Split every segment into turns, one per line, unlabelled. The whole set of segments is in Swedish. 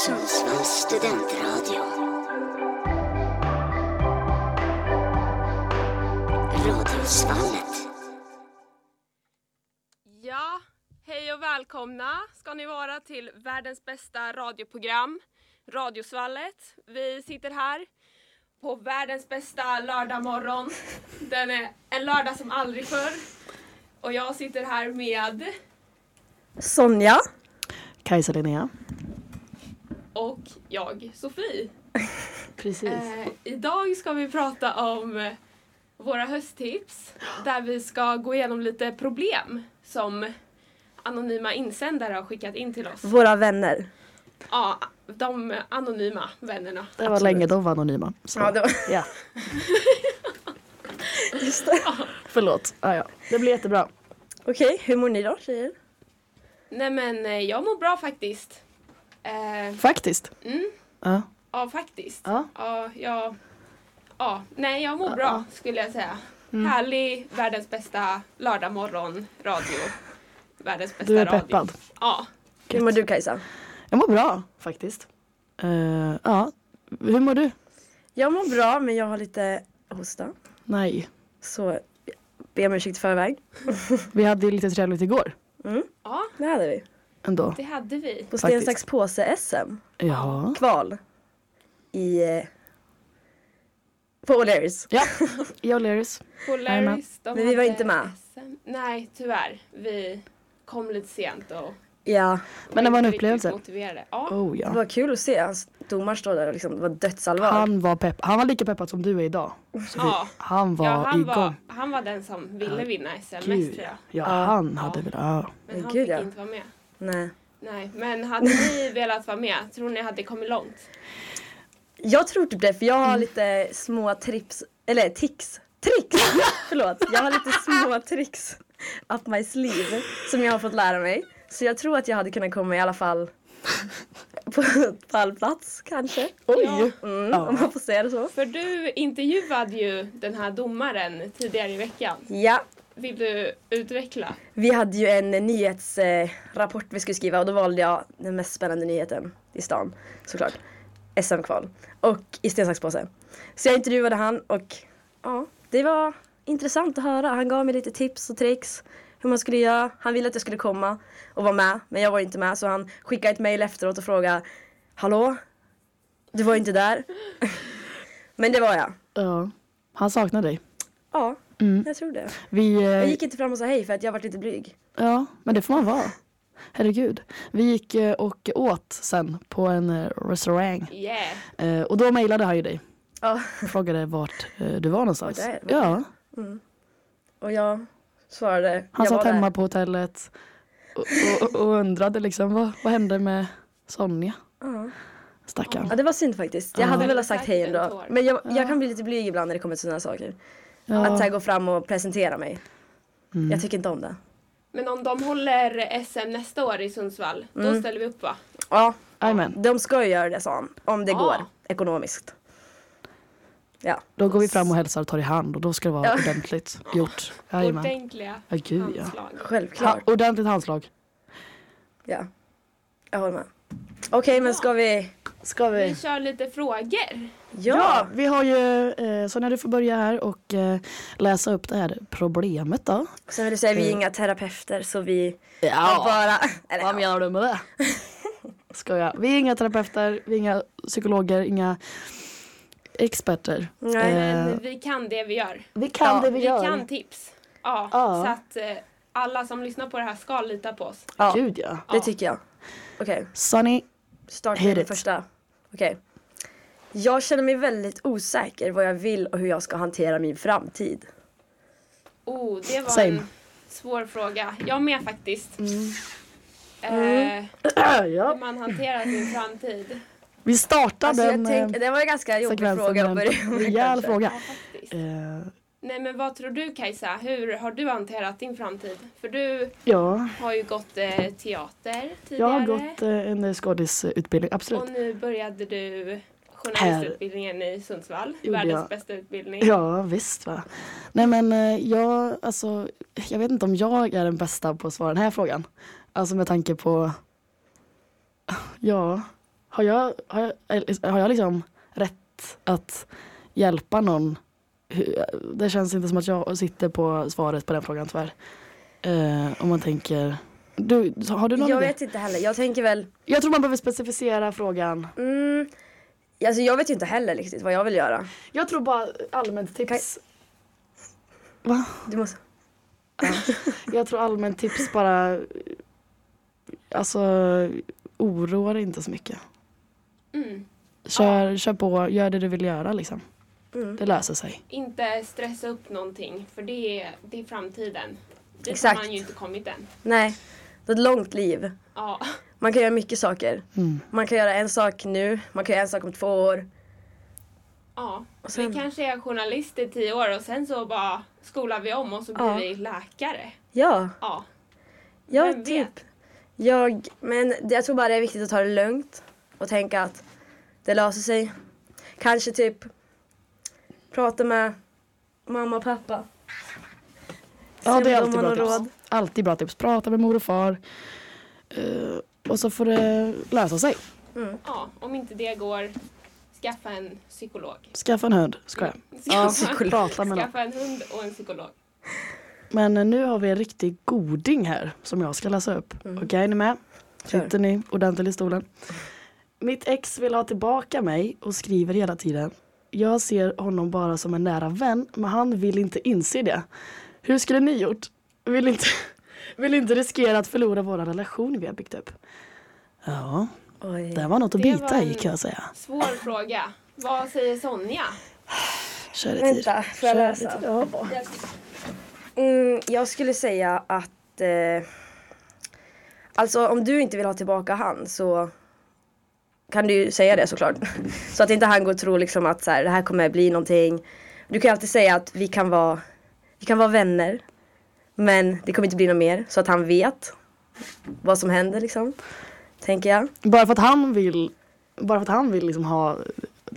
Sundsvalls studentradio. Radiosvallet.
Ja, hej och välkomna ska ni vara till världens bästa radioprogram, Radiosvallet. Vi sitter här på världens bästa lördagmorgon. Den är en lördag som aldrig förr. Och jag sitter här med
Sonja.
Kajsa Linnea.
och jag, Sofie.
Precis.
Eh, idag ska vi prata om eh, våra hösttips där vi ska gå igenom lite problem som anonyma insändare har skickat in till oss.
Våra vänner.
Ja, de anonyma vännerna.
det var länge de var anonyma. Så.
Ja, det var...
Ja,
Just det.
förlåt. Ja, ja. Det blir jättebra.
Okej, hur mår ni då tjejer?
Nej men eh, jag mår bra faktiskt. Eh,
Faktiskt.
Mm.
Ja.
ja, faktiskt.
Ja.
Ja, jag, ja, nej jag mår bra skulle jag säga.
Mm.
Härlig, världens bästa lördagmorgon, radio. Världens bästa
Du är
radio.
peppad.
Ja.
Hur mår du Kajsa?
Jag mår bra faktiskt. Eh, ja. Hur mår du?
Jag mår bra men jag har lite hosta.
Nej.
Så be om ursäkt i förväg.
Vi hade ju lite trevligt igår
ja,
Det hade vi.
ändå.
det hade vi.
På sten,
Faktiskt.
sax, påse SM.
Ja.
Kval. I... eh, På O'Learys.
Ja. I O'Learys. Jajamän.
Polaris, de
Men vi var
hade
inte med.
SM. Nej, tyvärr. Vi kom lite sent och
Ja,
Men det var en
inte riktigt
upplevelse.
motiverade. Ja.
Oh
det
ja.
var kul att se. Hans domaren står där och liksom, det var dödsallvar.
Han var pepp. Han var lika peppad som du är idag. Sofie.
Ja.
Han var
Ja, han,
igång.
var, han var den som ville vinna SM mest
Gud,
tror jag.
ja. ja, han hade velat. Ja.
Men
Men
han
gud,
fick
ja.
inte vara med.
Nej.
Nej, men hade ni velat vara med? Tror ni hade kommit långt?
Jag tror typ det för jag har lite små trips, eller tics. Tricks! Förlåt, jag har lite små tricks up my sleeve som jag har fått lära mig. Så jag tror att jag hade kunnat komma i alla fall på pallplats kanske.
Oj!
Ja.
Mm,
Ja.
Om man får säga det så.
För du intervjuade ju den här domaren tidigare i veckan.
Ja,
Vill du utveckla?
vi hade ju en nyhetsrapport vi skulle skriva och då valde jag den mest spännande nyheten i stan såklart. SM-kval. Och i sten, sax, påse. Så jag intervjuade han och ja, det var intressant att höra. Han gav mig lite tips och tricks hur man skulle göra. Han ville att jag skulle komma och vara med men jag var inte med så han skickade ett mejl efteråt och frågade Hallå? Du var inte där? men det var jag.
Ja. Han saknar dig.
Ja,
Mm.
jag tror det.
Vi, eh,
Jag gick inte fram och sa hej för att jag var lite blyg.
Ja, men det får man vara. Herregud. Vi gick eh, och åt sen på en eh, restaurang.
Yeah!
Eh, Och då mejlade han ju dig
Ja.
och frågade vart eh, du var någonstans.
Vart är- vart är-
ja,
Och jag svarade.
han
jag
satt
var
hemma
där.
på hotellet och, och, och undrade liksom vad, vad hände med Sonja?
Ja.
Stackarn.
Ja det var synd faktiskt. Jag
Ja.
hade velat sagt hej ändå. Men jag,
Ja.
jag kan bli lite blyg ibland när det kommer till sådana saker. Att så här
Ja.
gå fram och presentera mig.
Mm.
Jag tycker inte om det.
Men om de håller SM nästa år i Sundsvall,
Mm.
då ställer vi upp va?
Ja,
Jajamän,
de ska ju göra det sa han. Om det
Ja.
går ekonomiskt. Ja.
då går vi fram och hälsar och tar i hand och då ska det vara
Ja.
ordentligt gjort. Jajamän.
Ordentliga
Ja, gud ja.
handslag.
Ha,
Självklart.
ordentligt handslag.
Ja. Jag håller med. Okej men ska vi...
Ska
Vi kör lite frågor.
Ja!
Ja, vi har ju, eh, Sonja du får börja här och eh, läsa upp det här problemet då.
Sen vill du säga vi är
Mm.
inga terapeuter så vi har
Ja,
bara... Eller,
vad
ja.
menar du med det? Skoja. Vi är inga terapeuter, vi är inga psykologer, inga experter.
Nej,
Men
Eh,
vi kan det vi gör.
vi kan
ja,
det vi,
Vi
gör.
kan tips. Ja,
Ja.
så att eh, alla som lyssnar på det här ska lita på oss.
Ja,
Gud ja.
det tycker jag. Okej.
Sunny.
Starta
Hit
med den
it.
första. Okej. Jag känner mig väldigt osäker vad jag vill och hur jag ska hantera min framtid.
Oh, det var
Same. Mm.
en svår fråga. Jag med faktiskt. Eh, hur
ja.
man hanterar sin framtid.
Vi startar
Alltså jag
den eh,
tänk, det var en ganska jobbig
sekvensen
fråga att
med
börja
en
med
rejäl
kanske.
fråga.
Ja, faktiskt.
Eh,
Nej men vad tror du Kajsa? Hur har du hanterat din framtid? För du
ja,
har ju gått eh, teater
jag
tidigare.
har gått eh, en skådisutbildning, absolut.
Och nu började du journalistutbildningen i Sundsvall.
Gjorde
Världens
jag.
bästa utbildning.
Ja, visst va. Nej men eh, jag, alltså, jag vet inte om jag är den bästa på att svara den här frågan. Alltså med tanke på, ja, Har jag, har jag, eller, har jag liksom rätt att hjälpa någon? Hur- Det känns inte som att jag sitter på svaret på den frågan tyvärr. Eh, om man tänker... Du, har du någon
Jag
idé?
vet inte heller. Jag tänker väl...
Jag tror man behöver specificera frågan.
Mm, alltså jag vet ju inte heller riktigt vad jag vill göra.
Jag tror bara allmänt tips. Va?
Du måste...
Jag tror allmänt tips bara... Alltså, oroa dig inte så mycket.
Mm.
Kör, kör på, gör det du vill göra liksom.
Mm.
Det löser sig.
Inte stressa upp någonting för det är, det är framtiden. Dit
Exakt.
har man ju inte kommit än.
Nej, det är ett långt liv.
Ja.
Man kan göra mycket saker.
Mm.
Man kan göra en sak nu, man kan göra en sak om två år.
ja.
Och sen-
Vi kanske är journalister i tio år och sen så bara skolar vi om och så blir
Ja.
vi läkare.
Ja,
Ja.
ja
Vem
typ.
vet?
Jag, men det- jag tror bara det är viktigt att ta det lugnt och tänka att det löser sig. Kanske typ prata med mamma och pappa.
Ja,
Se
det är
om
alltid
de
bra
har
tips.
något
Alltid bra tips. Prata med mor och far. Eh, och så får det lösa sig.
ja. Om inte det går, skaffa en psykolog.
Skaffa en hund. Skojar.
Skaffa,
psykolog.
Prata med någon.
skaffa en hund och en psykolog.
Men eh, nu har vi en riktig goding här som jag ska läsa upp. Okej, är ni med?
Kör.
Sitter ni ordentligt i stolen? Mitt ex vill ha tillbaka mig och skriver hela tiden. Jag ser honom bara som en nära vän, men han vill inte inse det. Hur skulle ni gjort? Vill inte, vill inte riskera att förlora vår relation vi har byggt upp. Ja,
Oj.
det var något att
Det
bita
var
i
en-
kan jag säga.
Svår fråga. Vad säger Sonja?
Kör lite.
Vänta, får jag
Kör
läsa?
lite. Ja.
Mm, jag skulle säga att... Eh, alltså om du inte vill ha tillbaka han så kan du ju säga det såklart. Så att inte han går och tror liksom att så här, det här kommer bli någonting. Du kan ju alltid säga att vi kan vara, vi kan vara vänner. Men det kommer inte bli något mer. Så att han vet vad som händer liksom. Tänker jag.
Bara för att han vill, bara för att han vill liksom ha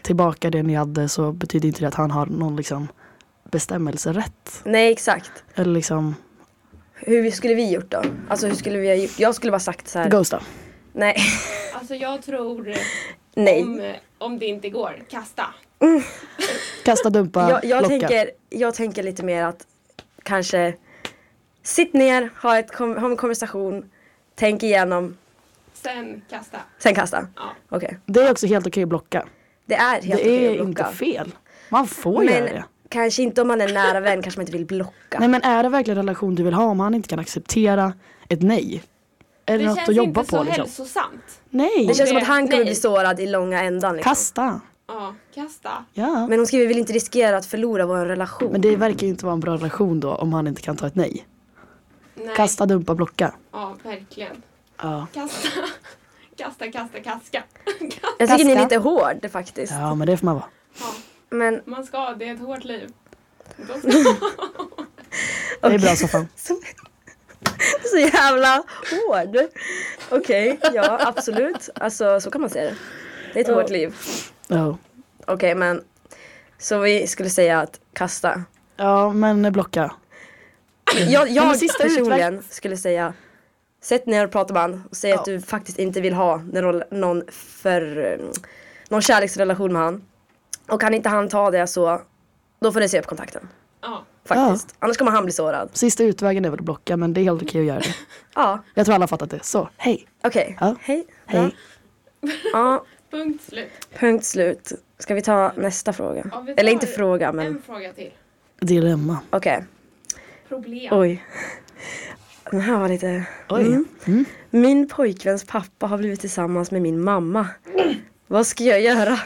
tillbaka det ni hade så betyder inte det att han har någon liksom bestämmelserätt.
Nej exakt.
Eller liksom,
Hur skulle vi gjort då? Alltså hur skulle vi ha gjort? Jag skulle bara sagt så här.
ghosta.
Nej.
Alltså jag tror eh,
Nej.
om, eh, om det inte går, kasta.
Kasta, dumpa,
jag, jag,
locka.
tänker, jag tänker lite mer att kanske sitt ner, ha, ett, kom- ha en konversation, tänk igenom,
Sen kasta.
sen kasta.
Ja.
Okej.
Det är också helt okej att blocka.
Det är helt
det
okej
är
att blocka.
inte fel. Man får
Men
göra det.
kanske inte om man är nära vän, kanske man inte vill blocka.
Nej men är det verkligen en relation du vill ha om han inte kan acceptera ett nej? Är det,
Det
något
känns
att jobba
inte så
på liksom?
hälsosamt.
det
Nej,
känns som att han kommer
Nej.
bli sårad i långa ändan. Liksom.
kasta.
Ja, kasta.
Ja. Men,
Men hon skriver, vill inte riskera att förlora vår relation.
det verkar ju inte vara en bra relation då om han inte kan ta ett nej.
Nej.
Kasta, dumpa, blocka.
Ja, verkligen.
Ja.
Kasta. Kasta, kasta, kasta.
jag tycker ni är
Kasta.
lite hård faktiskt.
ja men det får man vara.
Ja,
Men
man ska, det är ett hårt liv. Då ska-
Det är
Okej.
bra så fan.
så jävla hård. Okej, ja absolut. Alltså så kan man se det. Det är ett hårt liv.
Ja.
Okej men Så vi skulle säga att kasta
Ja, men blocka.
Jag,
men
jag
sista
personligen skulle säga Sätt ner och prata med han och säg att
Ja.
du faktiskt inte vill ha någon, någon, för, eh, någon kärleksrelation med han Och kan inte han ta det så Då får ni se upp kontakten
Ja,
Faktiskt, annars kommer han bli sårad
Sista utvägen är väl att blocka, men det är helt okej att göra det.
Ja,
Jag tror alla har fattat det. Så, hej.
okej,
Ja.
hej
Hej.
Ja,
punkt slut.
punkt slut Ska vi ta nästa fråga?
Ja, vi tar
Eller inte fråga men
En fråga till.
Dilemma.
okej
Problem.
Oj. Den här var lite...
Oj.
Mm. Min pojkväns pappa har blivit tillsammans med min mamma. Vad ska jag göra?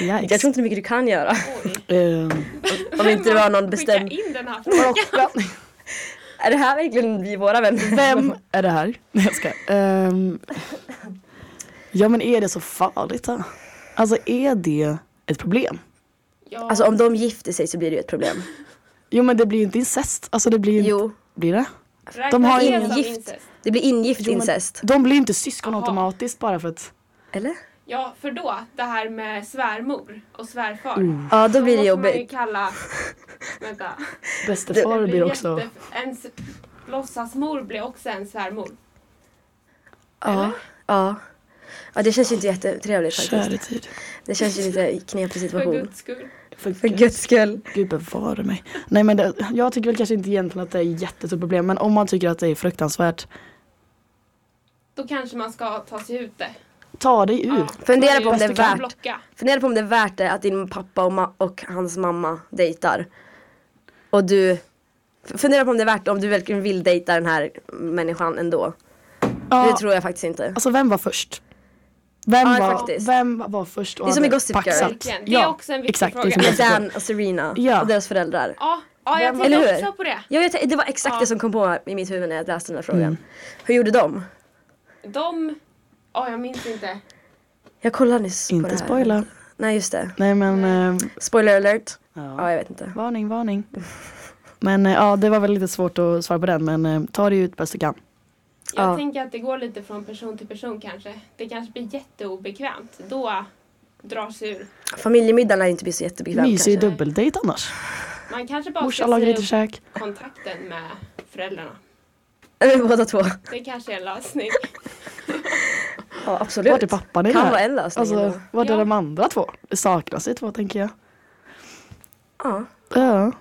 Yikes.
Jag tror inte hur mycket du kan göra.
Oj.
Ehm,
Om inte det var någon
Skicka
bestämd...
in den här frågan.
Är det här verkligen vi våra vänner?
vem är det här? Nej, jag ska. ja, men är det så farligt? Då? Alltså, är det ett problem?
Ja,
Alltså om de gifter sig så blir det ju ett problem.
Jo, men det blir ju inte incest. Alltså, det blir ju
Jo,
Blir det?
räknas
har
det
ingen
som
gift.
incest?
det blir ingift
Jo, men
incest.
De blir ju inte syskon
Jaha.
automatiskt bara för att...
Eller?
Ja, för då, det här med svärmor och svärfar.
Ja, Mm.
måste
då blir det
man ju
jobbigt.
kalla... Vänta.
Bästefar blir också...
jätte- En s- låtsasmor blir också en svärmor.
Ja. ja. Ja, det känns ju inte jättetrevligt faktiskt.
Kär i tid.
Det känns ju lite knepig
För
situation.
guds skull.
För guds skull.
Gud bevare mig. Nej men det, jag tycker väl kanske inte egentligen att det är ett jättestort problem men om man tycker att det är fruktansvärt,
Då kanske man ska ta sig ut det.
ta dig
Ja.
ur.
Mm. Fundera på om det
Bästa
är
kan
värt,
Blocka.
fundera på om det är värt det att din pappa och, ma- och hans mamma dejtar. Och du f- Fundera på om det är värt det, om du verkligen vill dejta den här människan ändå.
Ja,
Det tror jag faktiskt inte.
Alltså vem var först? Vem,
Ja,
var,
faktiskt.
vem var först och
Det är som i
hade
Gossip Girl.
paxat?
Verkligen. Det är också en viktig
exakt, Det är
fråga.
som i
Med
Gossip Girl.
Dan och Serena
Ja.
och deras föräldrar.
Ja, ja, jag
Eller hur?
tänkte också på det.
Ja, jag t- det var exakt
Ja.
det som kom på i mitt huvud när jag läste den här
Mm.
frågan. Hur gjorde de?
De... Ja, jag minns inte.
Jag kollade nyss på det
Inte
här.
spoila.
Nej just det.
Nej men, eh,
Spoiler alert. Ja
ja.
jag vet inte.
varning varning. Men eh, ja det var väl lite svårt att svara på den men eh, ta dig ut bäst du kan.
Jag
Ja.
tänker att det går lite från person till person kanske. Det kanske blir jätteobekvämt. Då drar sig ur.
Familjemiddagen lär ju inte bli så jättebekväm
Mysig
kanske.
dubbeldejt annars.
Man kanske bara
Morsan
ska
lagar
säga
lite
upp
käk.
kontakten med föräldrarna.
Eller Båda två.
Det kanske är en lösning.
Ja absolut.
Vart är pappan i det
Kan vara
här?
en lösning.
Alltså
ändå.
vart är
Ja.
de andra två? Det saknas ju två tänker jag.
Ja,
Ja.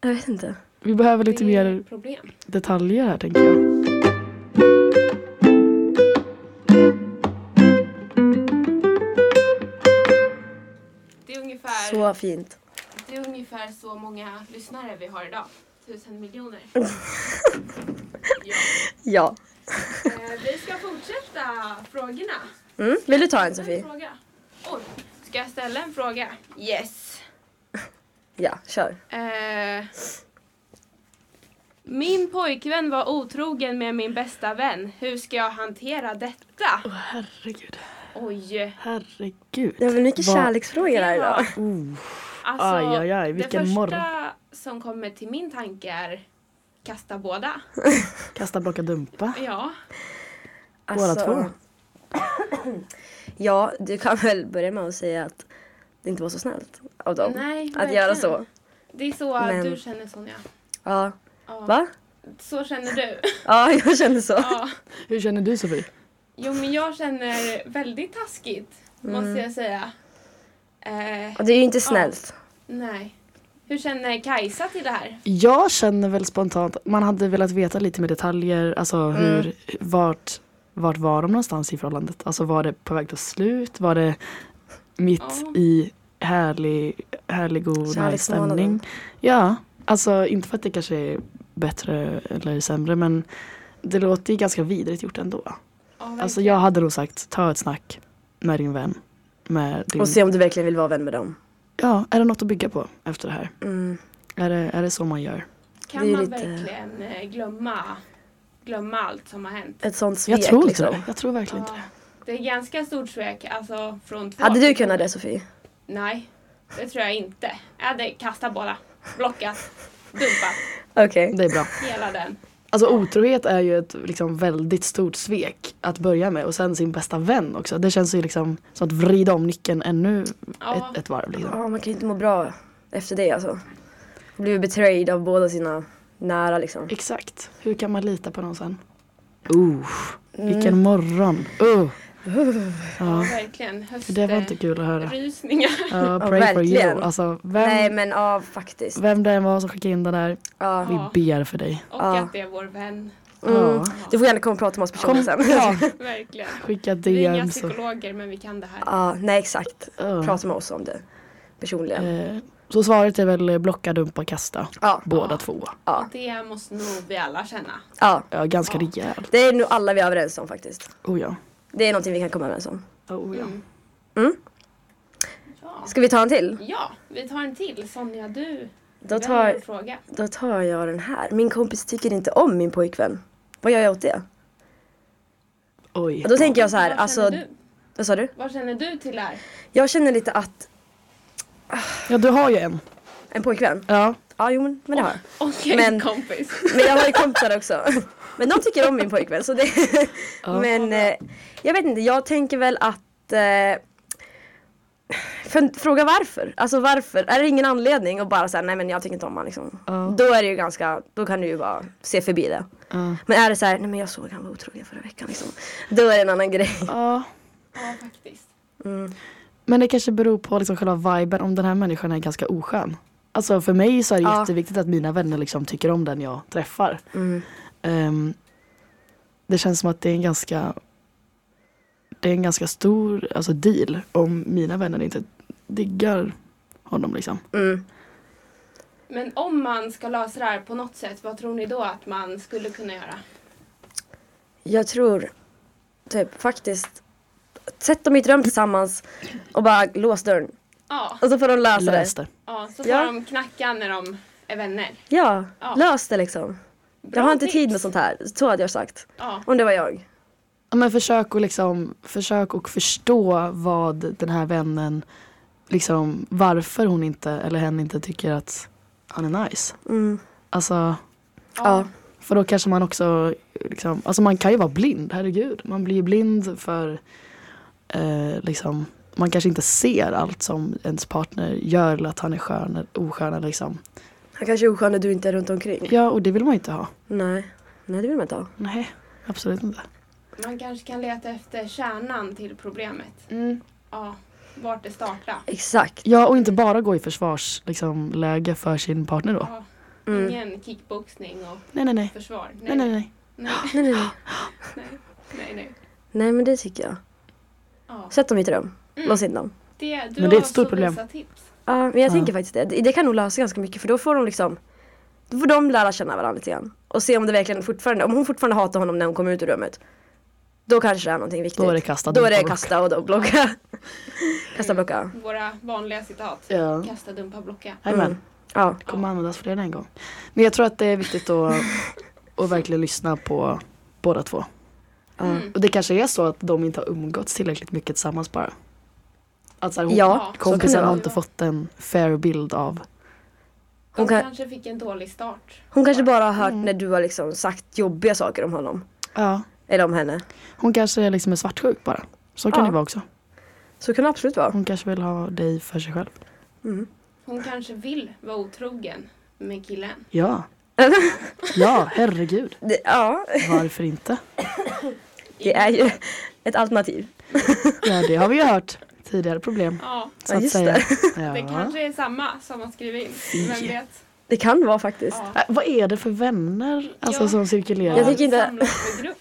jag vet inte.
Vi behöver lite
det är
mer
ett problem.
detaljer här tänker jag.
Det är, ungefär,
Så fint.
det är ungefär så många lyssnare vi har idag. Tusen miljoner. ja.
Ja.
eh, vi ska fortsätta frågorna.
Mm. Vill du ta en
En
Sofie?
fråga. Oj, ska jag ställa en fråga? Yes.
Ja, kör.
Eh, min pojkvän var otrogen med min bästa vän. Hur ska jag hantera detta?
Åh herregud,
Oj.
herregud.
Det var mycket
Vad-
kärleksfrågor här
Det var-
idag.
Oh.
Alltså,
Aj, aj, aj, vilken
det första
morgon.
som kommer till min tanke är kasta båda.
Kasta, blocka, dumpa.
Ja.
Alltså,
två.
ja, du kan väl börja med att säga att det inte var så snällt av dem.
Nej,
att göra
verkligen.
så.
Det är så
Men-
du känner Sonja.
Ja.
Ja.
Va?
Så känner du.
Ja, jag kände så.
Ja.
Hur känner du Sofie?
Jo men jag känner väldigt taskigt
Mm.
måste jag säga. Eh,
Och det är ju inte snällt.
nej. Hur känner Kajsa till det här?
Jag känner väl spontant, man hade velat veta lite mer detaljer, alltså hur, vart, vart var de någonstans i förhållandet? Alltså var det på väg till slut? Var det mitt
Ja.
i härlig, härlig och nice
Kärleksmånaden.
stämning? Ja, alltså inte för att det kanske är bättre eller sämre men det låter ju ganska vidrigt gjort ändå.
Ja,
Alltså
verkligen.
jag hade nog sagt, ta ett snack med din vän. Med din...
Och se om du verkligen vill vara vän med dem.
Ja, är det något att bygga på efter det här?
Mm.
Är det, är det så man gör?
det
Kan
är
man
lite-
verkligen eh, glömma, glömma allt som har hänt?
Ett sånt svek
Jag tror inte
liksom.
det. Jag tror verkligen inte
Ja. Det är ganska stort svek, alltså från två
Hade du
personer.
kunnat det Sofie?
Nej, det tror jag inte. Jag hade kastat båda, blockat, dumpat,
Okej.
det. Det är bra.
hela den.
Alltså otrohet är ju ett liksom, väldigt stort svek att börja med och sen sin bästa vän också. Det känns ju liksom som att vrida om nyckeln ännu
Ja.
ett, ett varv. Liksom.
Ja, man kan ju inte må bra efter det alltså. Blivit betrayed av båda sina nära liksom.
Exakt. Hur kan man lita på någon sen? Uh, vilken morgon. Uh.
Ja,
Ja,
verkligen.
det var inte kul att höra.
Rysningar.
Ja,
Ja,
pray for you.
verkligen.
Alltså,
Nej
vem,
men ja, faktiskt.
vem det än var som skickade in den där,
Ja.
Ja.
vi ber för dig.
Och
Ja.
att det är vår vän.
Ja.
Mm. Du får gärna komma och prata med oss personligen sen.
Ja,
Verkligen.
skicka
Vi är inga
DMs. och-
psykologer men vi kan det här.
Ja, nej exakt.
Ja.
Prata med oss om det. Personligen.
Eh, Så svaret är väl blocka, dumpa, kasta.
Ja.
Båda två.
Ja.
Och det måste nog vi alla känna.
ja.
Ja, ganska rejält.
Det är nog alla vi är överens om faktiskt.
Oh ja.
Det är någonting vi kan komma överens om.
Oh, ja.
Ja.
Ska vi ta en till?
ja, vi tar en till. Sonja, du
Då
väljer
tar-
en fråga.
Då tar jag den här. Min kompis tycker inte om min pojkvän. Vad gör jag åt det?
Oj.
Och då tänker jag så här,
vad,
alltså.
känner du?
Vad sa du?
vad känner du till det här?
Jag känner lite att
Ja, du har ju en.
en pojkvän.
Ja.
Ja, jo men men det har jag.
Okej
Men-
kompis.
Men jag har ju kompisar också. Men de tycker om min pojkvän. Så det...
Ja.
Men eh, jag vet inte, jag tänker väl att eh, för, Fråga varför. Alltså varför? Är det ingen anledning att bara säga nej men jag tycker inte om honom liksom.
Ja.
Då är det ju ganska, då kan du ju bara se förbi det.
Ja.
Men är det så här, nej men jag såg han var otrogen förra veckan liksom. Då är det en annan grej.
ja.
Ja, faktiskt.
Mm.
Men det kanske beror på liksom själva viben om den här människan är ganska oskön. Alltså för mig så är det
Ja.
jätteviktigt att mina vänner liksom tycker om den jag träffar.
Mm.
Ehm, det känns som att det är en ganska det är en ganska stor alltså deal om mina vänner inte diggar honom liksom.
Mm.
Men om man ska lösa det här på något sätt, vad tror ni då att man skulle kunna göra?
Jag tror typ faktiskt Sätt dem i ett rum tillsammans och bara lås dörren.
Ja,
Och så får de lösa Alltså det.
Lös det.
ja så får
Ja.
de knacka när de är vänner.
Ja,
Ja.
lös det liksom.
Bra
jag har inte
tips.
tid med sånt här. Så hade jag sagt.
Ja,
Om det var jag.
Ja, men försök att liksom, försök att förstå vad den här vännen, liksom varför hon inte eller hen inte tycker att han är nice.
Mm.
Alltså,
Ja.
för då kanske man också, liksom, alltså man kan ju vara blind, herregud. Man blir ju blind för, eh, liksom, man kanske inte ser allt som ens partner gör eller att han är skön eller oskön. eller Liksom.
Han kanske är oskön när du inte är runt omkring.
Ja, och det vill man ju inte ha.
Nej. Nej, det vill man inte ha.
Nej, absolut inte.
man kanske kan leta efter kärnan till problemet.
Mm.
Ja, vart det startar.
Exakt.
Ja, och inte bara gå i försvarsläge liksom, läge för sin partner då.
Ja.
Mm.
Ingen kickboxning och
Nej, nej, nej.
försvar.
Nej, nej, nej.
nej,
Nej, nej, nej.
nej, nej, nej.
nej, men det tycker jag.
Ja.
Sätt dem i ett rum.
Mm.
Lås in dem.
Det, du
Men det är ett stort problem.
Vissa tips.
Ja, men jag
Ja.
tänker faktiskt det. Det det kan nog lösa ganska mycket för då får de liksom Då får de lära känna varandra lite grann. Och se om det verkligen fortfarande, om hon fortfarande hatar honom när hon kommer ut ur rummet. Då kanske det är någonting viktigt.
Då är det kastat.
Då är det kasta och då blocka. kasta och blocka.
Våra vanliga citat.
Ja.
Kasta, dumpa, blocka.
Jajamän.
Ja.
Det kommer användas fler än en gång. Men jag tror att det är viktigt att, att verkligen lyssna på båda två.
Mm.
Och det kanske är så att de inte har umgåtts tillräckligt mycket tillsammans bara. Att så här, hon,
Ja,
så kan det
kompisen har
vara.
inte fått en fair bild av.
De
Hon kan-
kanske fick en dålig start.
Hon kanske bara har hört när du har liksom sagt jobbiga saker om honom.
Ja.
Eller om henne.
Hon kanske liksom är svartsjuk bara. Så kan
Ja.
det vara också.
Så kan det absolut vara.
Hon kanske vill ha dig för sig själv.
Hon kanske vill vara otrogen med killen.
Ja. ja, herregud.
Det, ja,
Varför inte?
det är ju ett alternativ.
Ja, det har vi ju hört. Tidigare problem.
Ja,
Så
Ja,
att
just
säga.
det
Ja.
kanske är samma som man skriver in. Vem vet?
Det kan vara faktiskt.
Ja.
Äh, Vad är det för vänner alltså,
Ja.
som cirkulerar?
Jag tycker inte-
Samlas med grupp.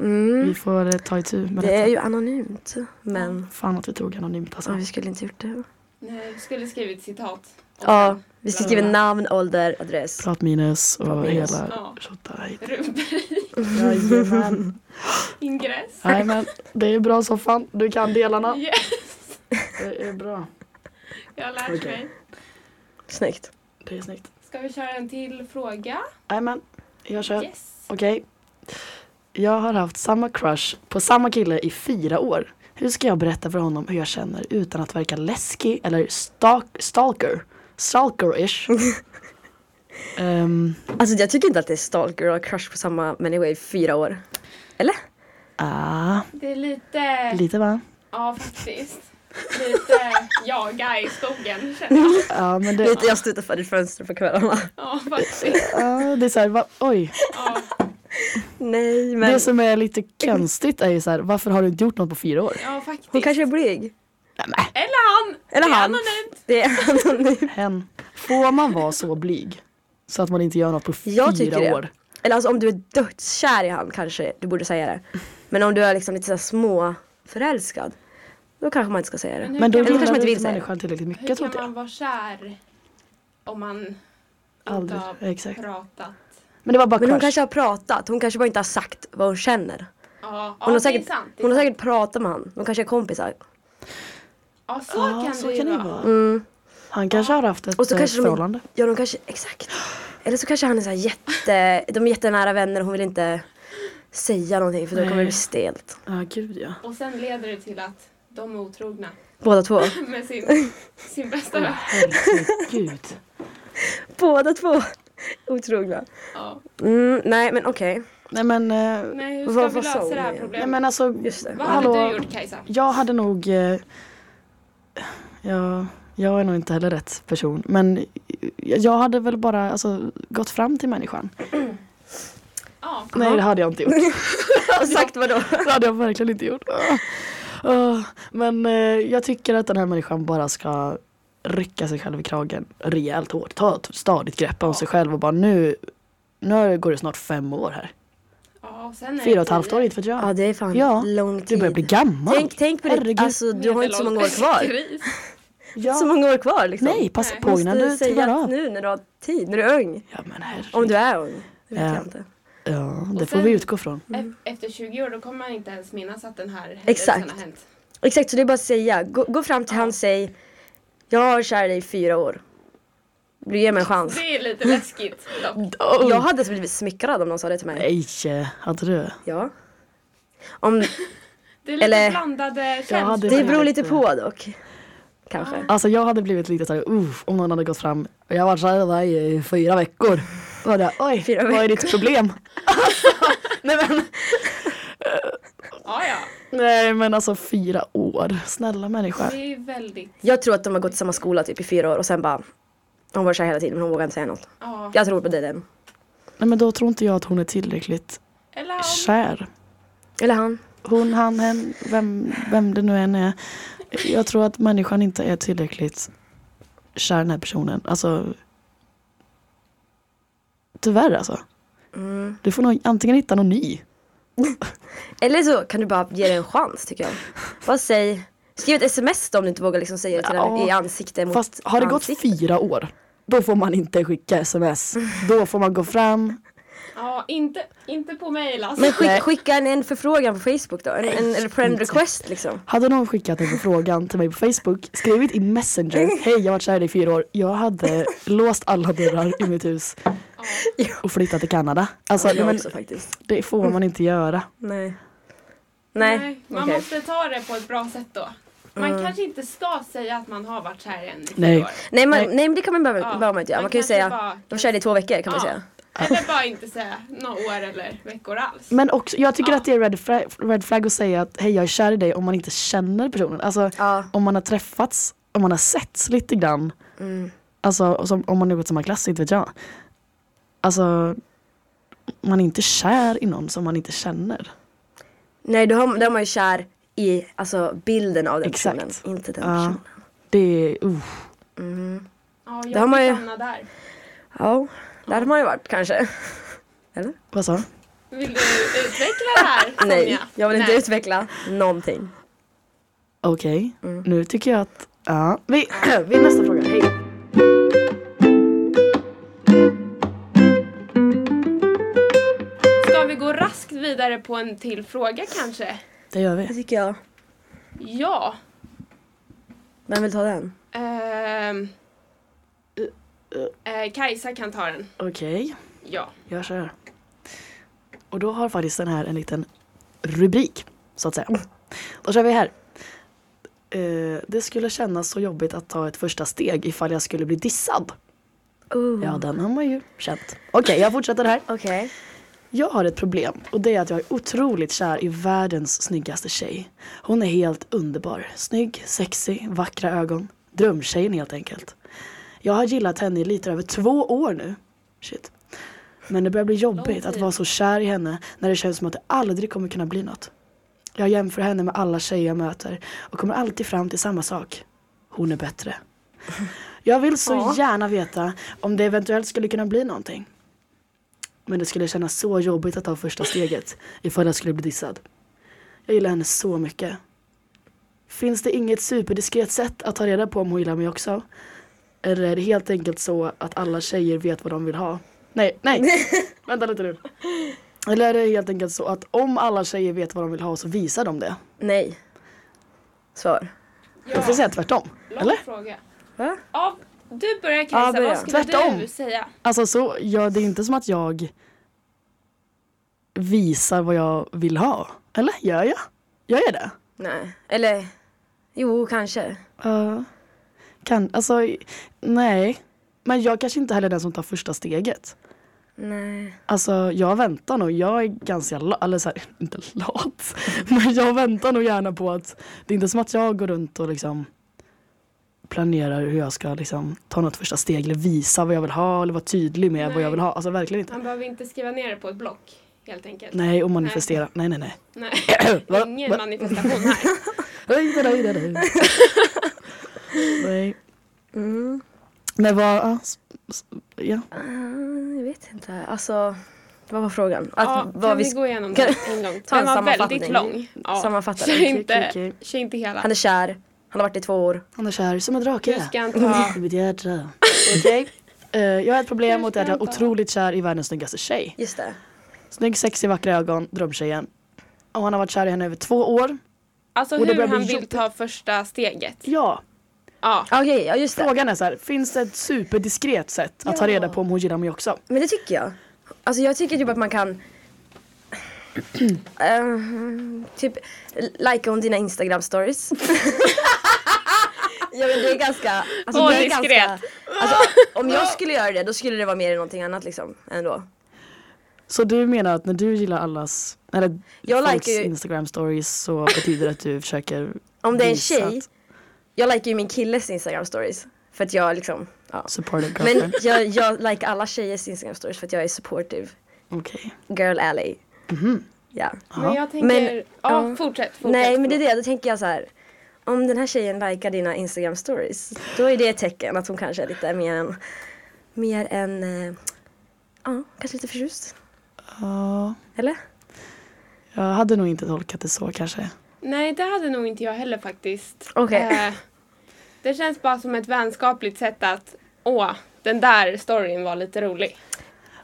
Mm,
Vi får eh, ta itu med
det
detta.
är ju anonymt. Men
Fan att vi tog anonymt alltså.
ja, vi skulle inte gjort det.
Nej, vi skulle skrivit citat. Och
Ja,
sen
vi ska skriva namn, ålder, adress.
Pratminus och
Pratminus,
hela
ja.
tjottajt.
Rubrik,
Jajamän.
ingress.
Jajamän. Det är bra soffan. Du kan delarna.
Yes,
Det är bra.
jag har lärt
Okej.
mig.
Snyggt.
Det är snyggt.
Ska vi köra en till fråga?
Jajamän. Jag kör.
Yes.
Okej. Jag har haft samma crush på samma kille i fyra år. Hur ska jag berätta för honom hur jag känner utan att verka läskig eller stalk stalker? Stalker-ish. Ehm,
Alltså jag tycker inte att det är stalker och crush på samma människa i fyra år. Eller?
ah,
Det är lite...
lite va?
Ja, faktiskt. Lite jaga i skogen, känner jag.
Ja, men det,
Lite jag står utanför ditt fönster på kvällarna.
Ja, faktiskt.
ja, det är så här, va, oj.
Ja,
Nej men
Det som är lite konstigt är ju så här, varför har du inte gjort något på fyra år?
ja faktiskt.
hon kanske är blyg.
Eller han!
Eller
Det är
han.
anonymt.
Det är anonymt.
Hen. Får man vara så blyg? Så att man inte gör något på fyra
Jag tycker det.
år?
Eller alltså om du är dödskär i han kanske du borde säga det. Men om du är liksom lite så här små förälskad. Då kanske man inte ska säga det.
hur
Men då
kan
kanske
gillar
man,
man inte
du
vill
inte
säga.
människan tillräckligt
hur
mycket tror
kan
inte jag.
man vara kär om man
Aldrig,
inte har
exakt.
pratat?
Men det var bara
Men hon
crush.
kanske har pratat. Hon kanske bara inte har sagt vad hon känner.
Ja, ja
Hon,
det
har,
är
säkert,
sant. det är
hon har
sant.
säkert pratat med han. De kanske är kompisar.
Ja, så
Ja,
kan
så
det
kan
ju
det ju
vara.
vara.
Mm.
Han kanske har haft ett
Och så
eh,
kanske de-
förhållande.
Ja, de kanske, exakt. Eller så kanske han är så här jätte, de är jättenära vänner och hon vill inte säga någonting för då
Nej.
kommer det bli stelt.
Ja, gud ja.
Och sen leder det till att de är otrogna
Båda två.
med sin, sin bästa vän.
Herregud.
Båda två. Otrogna.
Ja.
Mm, nej men okej.
Nej men, eh,
Nej, hur ska
Vad-
vi
vad sa
lösa
hon
det här
igen?
nej
problemet?
men alltså,
Just det.
Vad hade
Hallå.
du gjort Kajsa?
jag hade nog, eh, jag, jag är nog inte heller rätt person. Men jag- jag hade väl bara alltså, gått fram till människan.
Ja.
Nej det hade jag inte gjort.
Och sagt vadå?
Det hade jag verkligen inte gjort. "Åh", men eh, jag tycker att den här människan bara ska rycka sig själv i kragen rejält hårt. Ta ett stadigt grepp om sig själv och bara nu, nu går det snart fem år här.
Ja, och sen är
Fyra och ett
det
halvt år,
tio.
inte vet jag.
Ja det är fan
Ja,
lång
Du
tid.
börjar bli gammal.
tänk, tänk på det,
Herregud.
alltså du har inte så många år kvar.
Medelålders kris.
Ja.
Så många år kvar liksom.
Nej, passa
Nej.
på innan
Måste
du trillar
säga
av.
att nu när du har tid, när du är ung.
Ja men
Om
herregud.
du är ung. Det vet
Ja.
jag inte.
Ja, det
Och
får
sen-
vi utgå från.
E- Efter 20 år då kommer man inte ens minnas att den här händelsen
Exakt.
har hänt.
Exakt, så det är bara att säga. Gå, gå fram till han och säg Jag har kär dig i fyra år. Du ger mig en chans.
Det är lite läskigt dock.
Jag hade alltså blivit smickrad om någon sa det till mig.
Nej, eh, hade du?
Ja. Om,
Det är lite
Eller-
blandade känslor.
Ja, det-
det beror lite på dock. Kanske.
Alltså jag hade blivit lite såhär, uff, om någon hade gått fram. Jag har varit kär i dig i fyra veckor. Då hade jag, Oj,
Fyra
vad är ditt problem?
Nej men.
Ja, ja.
Nej men alltså fyra år, snälla människa.
Det är väldigt...
Jag tror att de har gått i samma skola typ i fyra år och sen bara Hon var kär hela tiden men hon vågade inte säga något.
Ja.
Jag tror på det den.
Nej men då tror inte jag att hon är tillräckligt
Eller om
kär.
Eller han.
Hon, han, hen, vem, vem det nu än är. Jag tror att människan inte är tillräckligt kär i den här personen. Alltså. Tyvärr alltså.
Mm.
Du får nog antingen hitta någon ny.
Eller så kan du bara ge det en chans tycker jag. Bara säg Skriv ett sms då om du inte vågar liksom säga det till
Ja.
den i ansikte mot
Fast har det gått
ansikte.
fyra år, då får man inte skicka sms. Då får man gå fram.
Ja, inte, inte på mejl alltså.
Men
Nej.
skick, skicka en, en förfrågan på Facebook då. En, en, en friend request liksom.
Hade någon skickat en förfrågan till mig på Facebook, skrivit i Messenger, hej jag har varit kär i dig i fyra år. Jag hade låst alla dörrar i mitt hus och flyttat till Kanada. Alltså,
Jag
men,
också faktiskt.
det får man inte göra.
Nej. Nej,
man
okej. Mm.
måste ta det på ett bra sätt då. Man kanske inte ska säga att man har varit kär i en i
Nej.
fyra år.
Nej, man,
Nej.
nej men det kan man behöva
Ja,
behöver man inte göra.
man
Man kan ju
kanske
säga,
bara-
de körde i två veckor kan man
Ja.
säga.
Eller bara inte säga några år eller veckor alls.
Mm.
Men också, jag tycker
Ja.
att det är red flag, red flag att säga att hej jag är kär i dig om man inte känner personen. Alltså
Ja.
om man har träffats, om man har setts lite grann.
Mm.
Alltså och som, om man har gått samma klass, inte vet jag. Alltså man är inte kär i någon som man inte känner.
Nej då har, då har man ju kär i alltså, bilden av den
Exakt.
personen. Inte den
Ja.
personen.
Det är, uh,
ja, jag
det har man
vill
ju-
hamna där.
Ja, där har man ju varit kanske.
Alltså,
vad sa du?
Vill du utveckla det här Sonja?
Nej, jag vill inte
Nej.
utveckla någonting. Mm.
Okej, nu tycker jag att, ja. Vi, vi nästa fråga, hej.
Ska vi gå raskt vidare på en till fråga kanske?
Det gör
Det
vi.
tycker jag.
Ja.
Vem vill ta den?
ehm, eh, Kajsa kan ta den.
Okej.
Ja.
Jag kör. Och då har faktiskt den här en liten rubrik, så att säga. Då kör vi här. Eh, det skulle kännas så jobbigt att ta ett första steg ifall jag skulle bli dissad.
Oh.
Ja, den har man ju känt. Okej, jag fortsätter här.
Okej.
Jag har ett problem och det är att jag är otroligt kär i världens snyggaste tjej. Hon är helt underbar. Snygg, sexig, vackra ögon. Drömtjejen helt enkelt. Jag har gillat henne i lite över två år nu. Shit. Men det börjar bli jobbigt att vara så kär i henne när det känns som att det aldrig kommer kunna bli något. Jag jämför henne med alla tjejer jag möter och kommer alltid fram till samma sak. Hon är bättre. Jag vill så gärna veta om det eventuellt skulle kunna bli någonting. Men det skulle kännas så jobbigt att ta första steget ifall jag skulle bli dissad. Jag gillar henne så mycket. Finns det inget superdiskret sätt att ta reda på om hon gillar mig också? Eller är det helt enkelt så att alla tjejer vet vad de vill ha? Nej, nej! Vänta lite nu. Eller är det helt enkelt så att om alla tjejer vet vad de vill ha så visar de det?
Nej. Svar.
Jag skulle
ja.
säga tvärtom.
Lång
Eller?
fråga.
Va?
Ja, du börjar
Ja,
Kajsa.
börja.
Vad skulle du
Tvärtom.
säga?
Alltså så, ja, det är inte som att jag visar vad jag vill ha. Eller? Gör jag? Gör jag det?
Nej. Eller, jo kanske.
Ja. kan, alltså, nej. Men jag kanske inte heller är den som tar första steget.
Nej.
Alltså jag väntar nog, jag är ganska lat, eller så här, inte lat, men jag väntar nog gärna på att det är inte som att jag går runt och liksom planerar hur jag ska liksom ta något första steg eller visa vad jag vill ha eller vara tydlig med vad jag vill ha. Alltså verkligen inte.
Man behöver inte skriva ner det på ett block helt enkelt.
Nej, och manifestera. Nej, nej, nej.
Nej.
Va?
Ingen
Va?
manifestation här.
Oj, oj, oj, oj, oj. Nej. Men vad, ja, s- s- ja.
Eh, Jag vet inte. Alltså, vad var frågan? Att,
ja,
vad
kan
vi
vi
sk-
gå igenom
kan-
den en gång?
Ta en
Den var väldigt
sammanfattning.
lång. Ja.
Sammanfatta
Kör
den.
Okej, okej,
inte,
okej.
kör inte hela.
han är kär, han har varit i två år.
Han är kär som en
Du
drake.
ska inte ha...
I mitt hjärta. Okej. Eh, jag har ett problem mot att jag är
Ursäkta.
otroligt kär i världens snyggaste tjej.
Just det.
Snygg, sexig, vackra ögon, drömtjejen. Och han har varit kär i henne över två år.
Alltså
Och det
hur
börjar bli
han vill
jobbigt.
ta första steget.
Ja,
Ja.
Ah, Okej, ja just det.
frågan är så här, finns det ett superdiskret sätt att ta
Ja.
reda på om hon gillar mig också?
Men det tycker jag. Alltså jag tycker typ att man kan Eh, typ, likea om dina instagram stories. ja men det är ganska... Alltså,
Åh,
det är
diskret.
ganska alltså, om jag skulle göra det då skulle det vara mer än någonting annat liksom. Ändå.
Så du menar att när du gillar allas, eller
Jag
folks
likar ju-
instagram stories så betyder det att du försöker
Om det är en
visa
tjej,
att
jag likar ju min killes instagram stories. För att jag liksom, ja.
Support a
Men
girlfriend.
jag, jag likar alla tjejers instagram stories för att jag är supportive.
Okej.
Girl alley. Ja.
Men jag tänker...
Men-
ja,
ja.
fortsätt. fortsätt
Nej men det är det, då tänker jag så här. Om den här tjejen likar dina instagram stories då är det ett tecken att hon kanske är lite mer än, mer än, eh, ja kanske lite förtjust.
Ja,
Eller?
jag hade nog inte tolkat det så kanske.
Nej, det hade nog inte jag heller faktiskt.
Okej.
Eh, det känns bara som ett vänskapligt sätt att... Åh, den där storyn var lite rolig.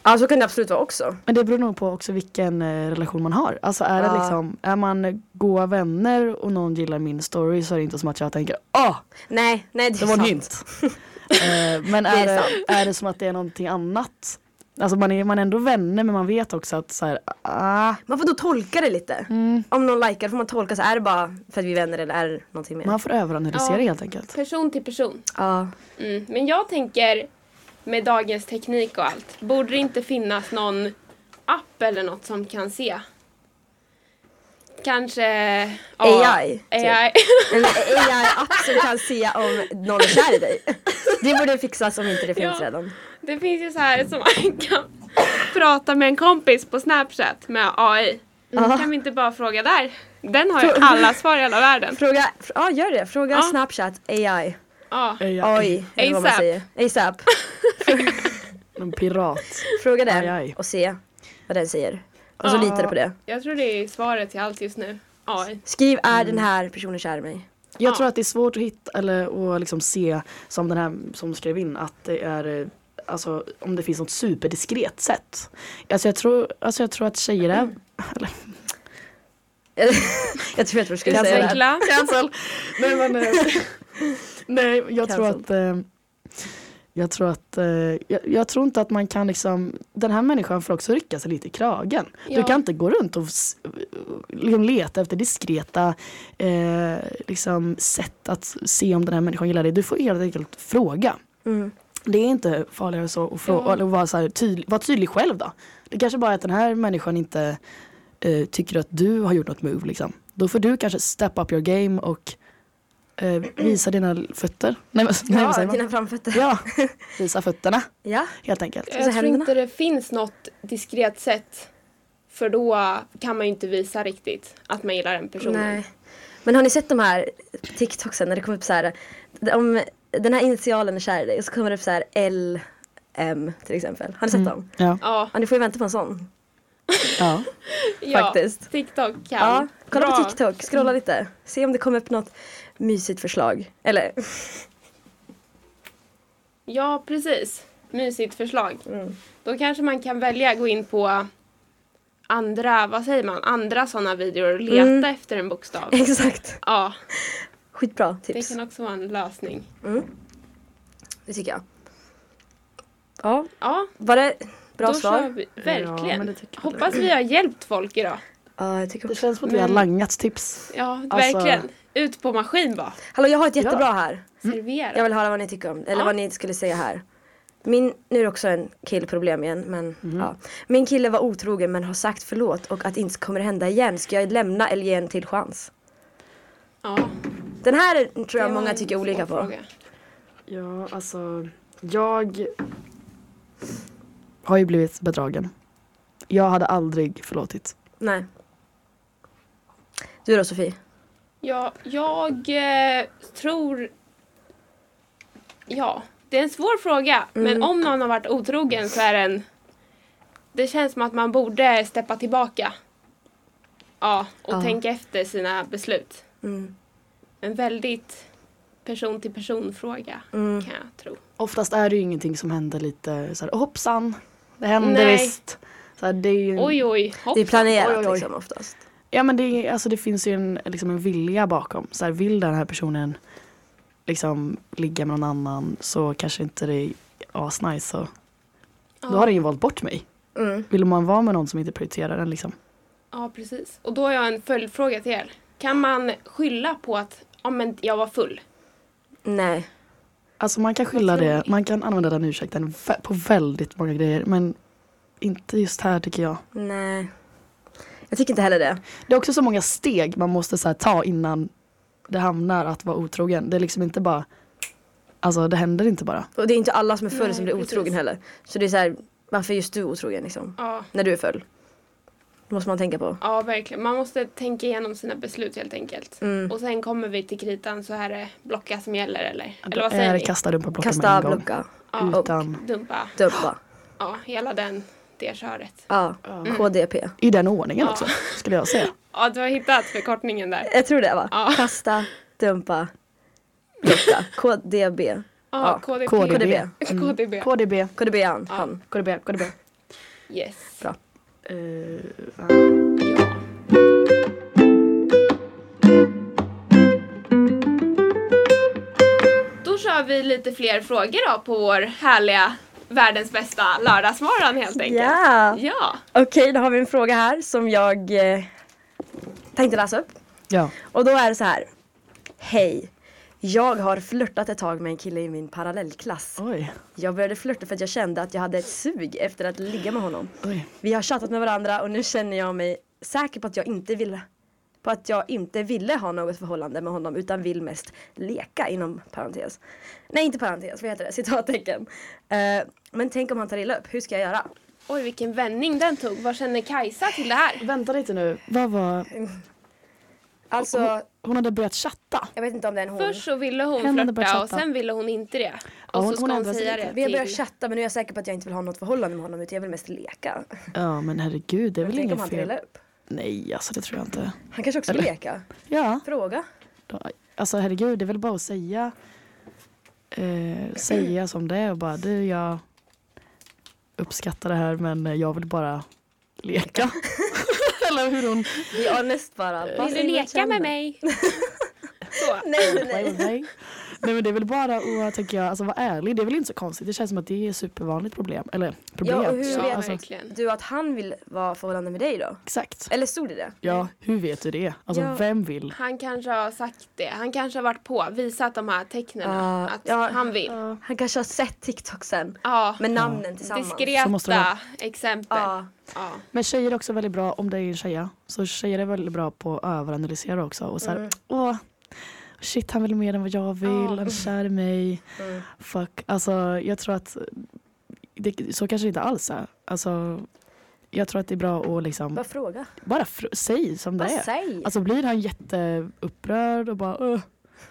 Ja så kan det absolut vara också.
Men det beror nog på också vilken eh, relation man har. Alltså är det
Ja.
liksom, är man goa vänner och någon gillar min story så är det inte som att jag tänker ah,
Nej, nej det,
det
är
var en
sant.
hint. Eh, men är
är
det,
sant.
är det som att det är någonting annat? Alltså man är, man är ändå vänner men man vet också att så här, ah,
Man får då tolka det lite.
Mm.
Om någon likar får man tolka, så är det bara för att vi är vänner eller är det någonting mer?
man får överanalysera
Ja.
helt enkelt.
Person till person.
Ja.
Mm. Men jag tänker med dagens teknik och allt. Borde det inte finnas någon app eller något som kan se? Kanske... ja,
AI, typ.
AI.
En AI-app som kan se om någon är kär i dig. Det borde fixas om inte det finns
Ja.
redan.
Det finns ju så här som man kan prata med en kompis på Snapchat med AI. Kan vi inte bara fråga där? Den har ju alla svar i hela världen.
Fråga, ja gör det, fråga
Ja.
Snapchat AI.
Eh, Ja.
AI, eller vad man
ASAP.
säger. ASAP.
En pirat.
Fråga
Aj,
den
aj.
och se vad den säger. Och så
Ja.
litar du på det.
Jag tror det är svaret till allt just nu. AI.
Skriv är den här personen kär i mig?
Jag
Ja.
tror att det är svårt att hitta eller att liksom se som den här som skrev in att det är eh, Alltså om det finns något superdiskret sätt. Alltså jag tror, alltså jag tror att tjejer är... Eller,
jag tror att du skulle säga det.
Utveckla.
cancel! Nej men... eh, Nej jag tror
Cancel.
att... eh, Jag tror att... eh, Jag, jag tror inte att man kan liksom... Den här människan får också rycka sig lite i kragen. Du
Ja.
kan inte gå runt och s- liksom leta efter diskreta eh, liksom sätt att se om den här människan gillar dig. Du får helt enkelt fråga.
Mm.
Det är inte farligare så att, frå-
Ja.
eller att vara, så här tydlig, vara tydlig själv då. Det kanske bara är att den här människan inte eh, tycker att du har gjort något move liksom. Då får du kanske step up your game och eh, visa dina fötter. Nej, men, nej, vad
Ja,
säger man?
dina framfötter.
Ja, visa fötterna
Ja.
helt enkelt.
Och så
Jag tror
händerna.
inte det finns något diskret sätt. För då kan man ju inte visa riktigt att man gillar den personen.
Nej. Men har ni sett de här TikToksen när det kommer upp så här om den här initialen är kär i dig och så kommer det upp så här L M till exempel. Har ni sett dem?
Ja,
Ja,
Ja, ni får ju vänta på en sån.
ja.
ja.
Faktiskt.
TikTok kan.
Ja, kolla
Bra. Mm.
på TikTok, scrolla lite. Se om det kommer upp något mysigt förslag. Eller
Ja, precis. Mysigt förslag.
Mm.
Då kanske man kan välja att gå in på andra, vad säger man, andra sådana videor och leta
Mm.
efter en bokstav.
exakt.
Ja,
Skitbra
det
tips.
kan också vara en lösning.
Det tycker jag. Ja,
Ja,
var det bra
då kör
svar?
vi.
Ja,
Verkligen.
men det tycker jag.
Hoppas vi har hjälpt folk idag.
Ja, jag tycker
Det
också.
känns som att vi har
Men-
langats tips.
Ja,
Alltså-
verkligen. Ut på maskin bara.
Hallå, jag har ett jättebra här.
Servera.
Mm. Jag vill höra vad ni tycker om, eller
Ja.
vad ni skulle säga här. Min, nu är det också en killproblem igen, men ja. Min kille var otrogen men har sagt förlåt och att det inte kommer hända igen. Ska jag lämna eller ge en till chans?
Ja.
Den här tror
Det
jag
var
många
en
tycker
svår
olika på.
fråga.
Ja, alltså jag har ju blivit bedragen. Jag hade aldrig förlåtit.
Nej. Du då Sofie?
Ja, jag eh, tror... Ja, det är en svår fråga. Men
Mm.
om någon har varit otrogen så är den... Det känns som att man borde steppa tillbaka. Ja, och
Ja.
tänka efter sina beslut.
Mm.
En väldigt person till person fråga
Mm.
kan jag tro.
Oftast är det ju ingenting som händer lite så här, hoppsan, det hände
Nej.
visst. Så här, det är ju,
Oj, oj, hopp.
Mm. Det är planerat
Oj, oj, oj.
liksom oftast.
Ja men det, är- alltså, det finns ju en, liksom en vilja bakom. Så här, vill den här personen liksom ligga med någon annan så kanske inte det är asnice. Och, Då har den ju valt bort mig.
Mm.
Vill man vara med någon som inte prioriterar den liksom?
Ja, precis. Och då har jag en följdfråga till er. Kan man skylla på att ja, men jag var full?
Nej.
Alltså man kan skylla
tror
det,
ni?
man kan använda den ursäkten vä- på väldigt många grejer men inte just här tycker jag.
Nej. Jag tycker inte heller det.
Det är också så många steg man måste så här, ta innan det hamnar att vara otrogen. Det är liksom inte bara, alltså det händer inte bara.
Och det är inte alla som är full
Nej,
som blir
precis.
otrogen heller. Så det är så här, varför är just du otrogen liksom?
Ja,
När du är full. Det måste man tänka på.
ja verkligen. Man måste tänka igenom sina beslut helt enkelt.
Mm.
Och sen kommer vi till kritan så här är blocka som gäller eller? Eller
Då
vad
är
säger
det
ni?
Eh, kasta rumpa med
Kasta,
en gång.
blocka,
Ja,
Utan,
dumpa.
dumpa.
Ja, hela den, det köret.
Ja.
Mm.
KDP.
I den ordningen
Ja.
också skulle jag säga.
Ja, du har hittat förkortningen där.
Jag tror det va?
Ja.
Kasta, dumpa, blocka. KDB.
Ja,
Ja,
KDP.
KDB.
KDB.
KDB.
KDB,
KDB är han. han.
KDB, KDB.
Yes.
Eh,
Ja. Då kör vi lite fler frågor då på vår härliga världens bästa lördagsmorgon helt enkelt.
Ja!
Ja.
Okej, då har vi en fråga här som jag eh, tänkte läsa upp.
ja.
Och då är det så här. Hej! Jag har flörtat ett tag med en kille i min parallellklass.
Oj.
Jag började flörta för att jag kände att jag hade ett sug efter att ligga med honom.
Oj.
Vi har chattat med varandra och nu känner jag mig säker på att jag inte ville på att jag inte ville ha något förhållande med honom utan vill mest leka inom parentes. Nej inte parentes, vad heter det? Citattecken. Eh, men tänk om han tar illa upp, hur ska jag göra?
Oj vilken vändning den tog. Vad känner Kajsa till det här?
Vänta lite nu, vad var...
Alltså,
Hon hade börjat chatta.
jag vet inte om det är en hon.
Först så ville hon
Hen hade börjat
flörta och
chatta.
sen ville hon inte det.
Ja,
Och så
hon-
ska
hon
hon
ändrade sig
säga
lite.
det
Vi har börjat
till-
chatta men nu är jag säker på att jag inte vill ha något förhållande med honom utan jag vill mest leka.
Ja men herregud det är väl
Tänk om han
inget
tar illa
fel.
upp.
Nej alltså det tror jag inte.
Han kanske också vill leka.
Ja.
Fråga.
Då- Alltså herregud, det är väl bara att säga, eh, säga som det är och bara du jag uppskattar det här men eh, jag vill bara leka. Eller hur hon...
Vi är honest bara. Vad
Vill
säger
du
man
leka
känner?
med mig? så.
Nej, nej, nej.
Nej. Nej. men det är väl bara att tänker jag, alltså vara ärlig, det är väl inte så konstigt. Det känns som att det är ett supervanligt problem. Eller problem.
Ja, och hur
Ja,
vet
alltså,
verkligen.
du att han vill vara förhållande med dig då?
Exakt.
Eller stod det det?
Ja, hur vet du det? Alltså
Ja.
vem vill?
Han kanske har sagt det. Han kanske har varit på, visat de här tecknen.
Ja,
att
ja.
han vill. Ja,
Han kanske har sett TikTok sen med namnen tillsammans.
Så måste det
diskreta
vara.
exempel.
Ja,
Ja.
Men tjejer är också väldigt bra, om det är en tjeja, så tjejer är väldigt bra på att överanalysera också. Och så här,
Mm.
åh, shit han vill mer än vad jag vill,
Ja.
han är kär i mig.
Mm.
Fuck, alltså jag tror att det, så kanske det inte alls är. Alltså, jag tror att det är bra att liksom
bara fråga.
bara fr- säg som det
Bara
är.
säg.
Alltså blir han jätteupprörd och bara åh,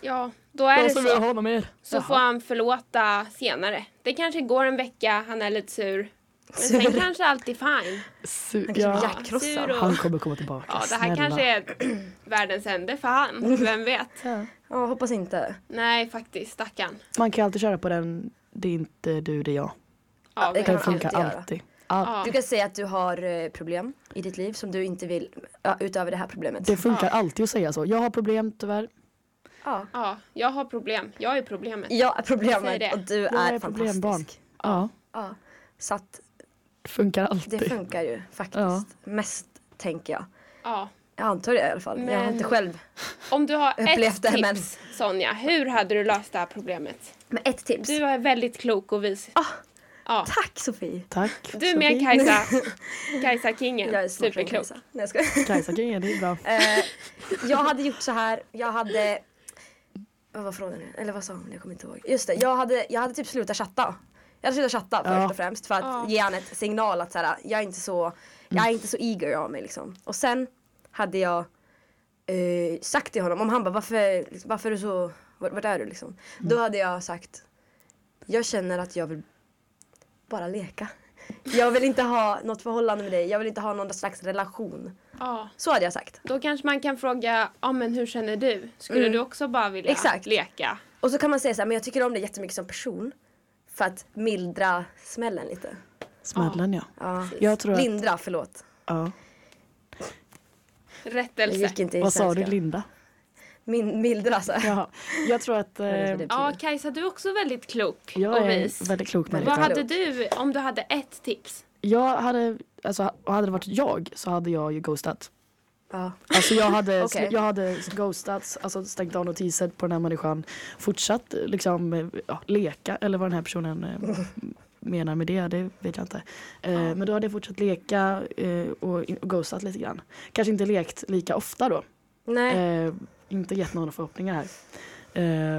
ja, då är det
jag vill
så.
ha honom mer.
Så får han förlåta senare. Det kanske går en vecka, han är lite sur. Men sen
Sur.
kanske allt är fine.
Han
Su-
kanske blir
ja.
hjärtkrossad.
sur och-
Han kommer komma tillbaka,
Ja, det här
snälla.
kanske är världens ände för han. Vem vet?
Ja, hoppas inte.
Nej, faktiskt. Stackarn.
Man kan alltid köra på den, det är inte du, det är jag.
Ja,
det
Det
verkligen.
kan man
funkar
alltid göra.
alltid. Allt.
Ja.
Du kan säga att du har eh, problem i ditt liv som du inte vill, ja, utöver det här problemet.
Det funkar alltid att säga så. Jag har problem tyvärr.
Ja,
ja, jag har problem. Jag är problemet.
jag
Säg
är
det.
problemet och du
Jag
är,
är problembarn.
fantastisk.
Ja,
Ja. Så att
det funkar
det
alltid.
funkar ju faktiskt.
Ja.
Mest tänker jag.
Ja.
Jag antar det i alla fall. Jag har
Men-
inte själv
Om du har ett
upplevt det,
tips,
men-
Sonja, hur hade du löst det här problemet?
Men ett tips.
Du är väldigt klok och vis.
Ah.
Ja.
Tack Sofie!
Tack.
Du är med
Sofie.
Kajsa. Kajsa Kingen.
Jag är smartare än
Superklok.
Kajsa. Nej, jag skojar.
Kajsa kan ge det är bra.
Eh, jag hade gjort så här. Jag hade... Vad var frågan nu? Eller vad sa hon? Jag kommer inte ihåg. Just det, jag hade, jag hade typ slutat chatta. Jag hade slutat chatta
Ja.
först och främst för att
Ja.
ge han ett signal att så här, jag är inte så, jag är inte så eager av mig liksom. Och sen hade jag eh, sagt till honom, om han bara varför, varför är du så, vart, vart är du liksom? Då hade jag sagt, jag känner att jag vill bara leka. Jag vill inte ha något förhållande med dig, jag vill inte ha någon slags relation.
Ja.
Så hade jag sagt.
Då kanske man kan fråga, ja men hur känner du? Skulle
Mm.
du också bara vilja
Exakt.
leka?
Och så kan man säga så här, men jag tycker om dig jättemycket som person. För att mildra smällen lite.
Smällen ja.
Ja.
Jag tror att,
Lindra, förlåt.
ja.
Det
Rättelse.
gick inte i
Vad sa du
svenska.
Linda?
Min, mildra sa jag.
Ja. Jag tror att eh,
Vad är det för det?
Ja Kajsa, du är också väldigt klok
jag
och
är
vis.
en väldigt klok
Vad
människa.
klok.
hade du om du hade ett tips?
Jag hade, alltså, hade det varit jag så hade jag ju ghostat.
Ja.
Alltså jag hade,
Okej.
jag hade ghostat, alltså stängt av notiser på den här människan. Fortsatt eh, liksom eh, ja, leka eller vad den här personen eh, menar med det, det vet jag inte. Eh, Men då hade jag fortsatt leka eh, och in- och ghostat lite grann. Kanske inte lekt lika ofta då.
Nej,
Eh, inte gett några förhoppningar här.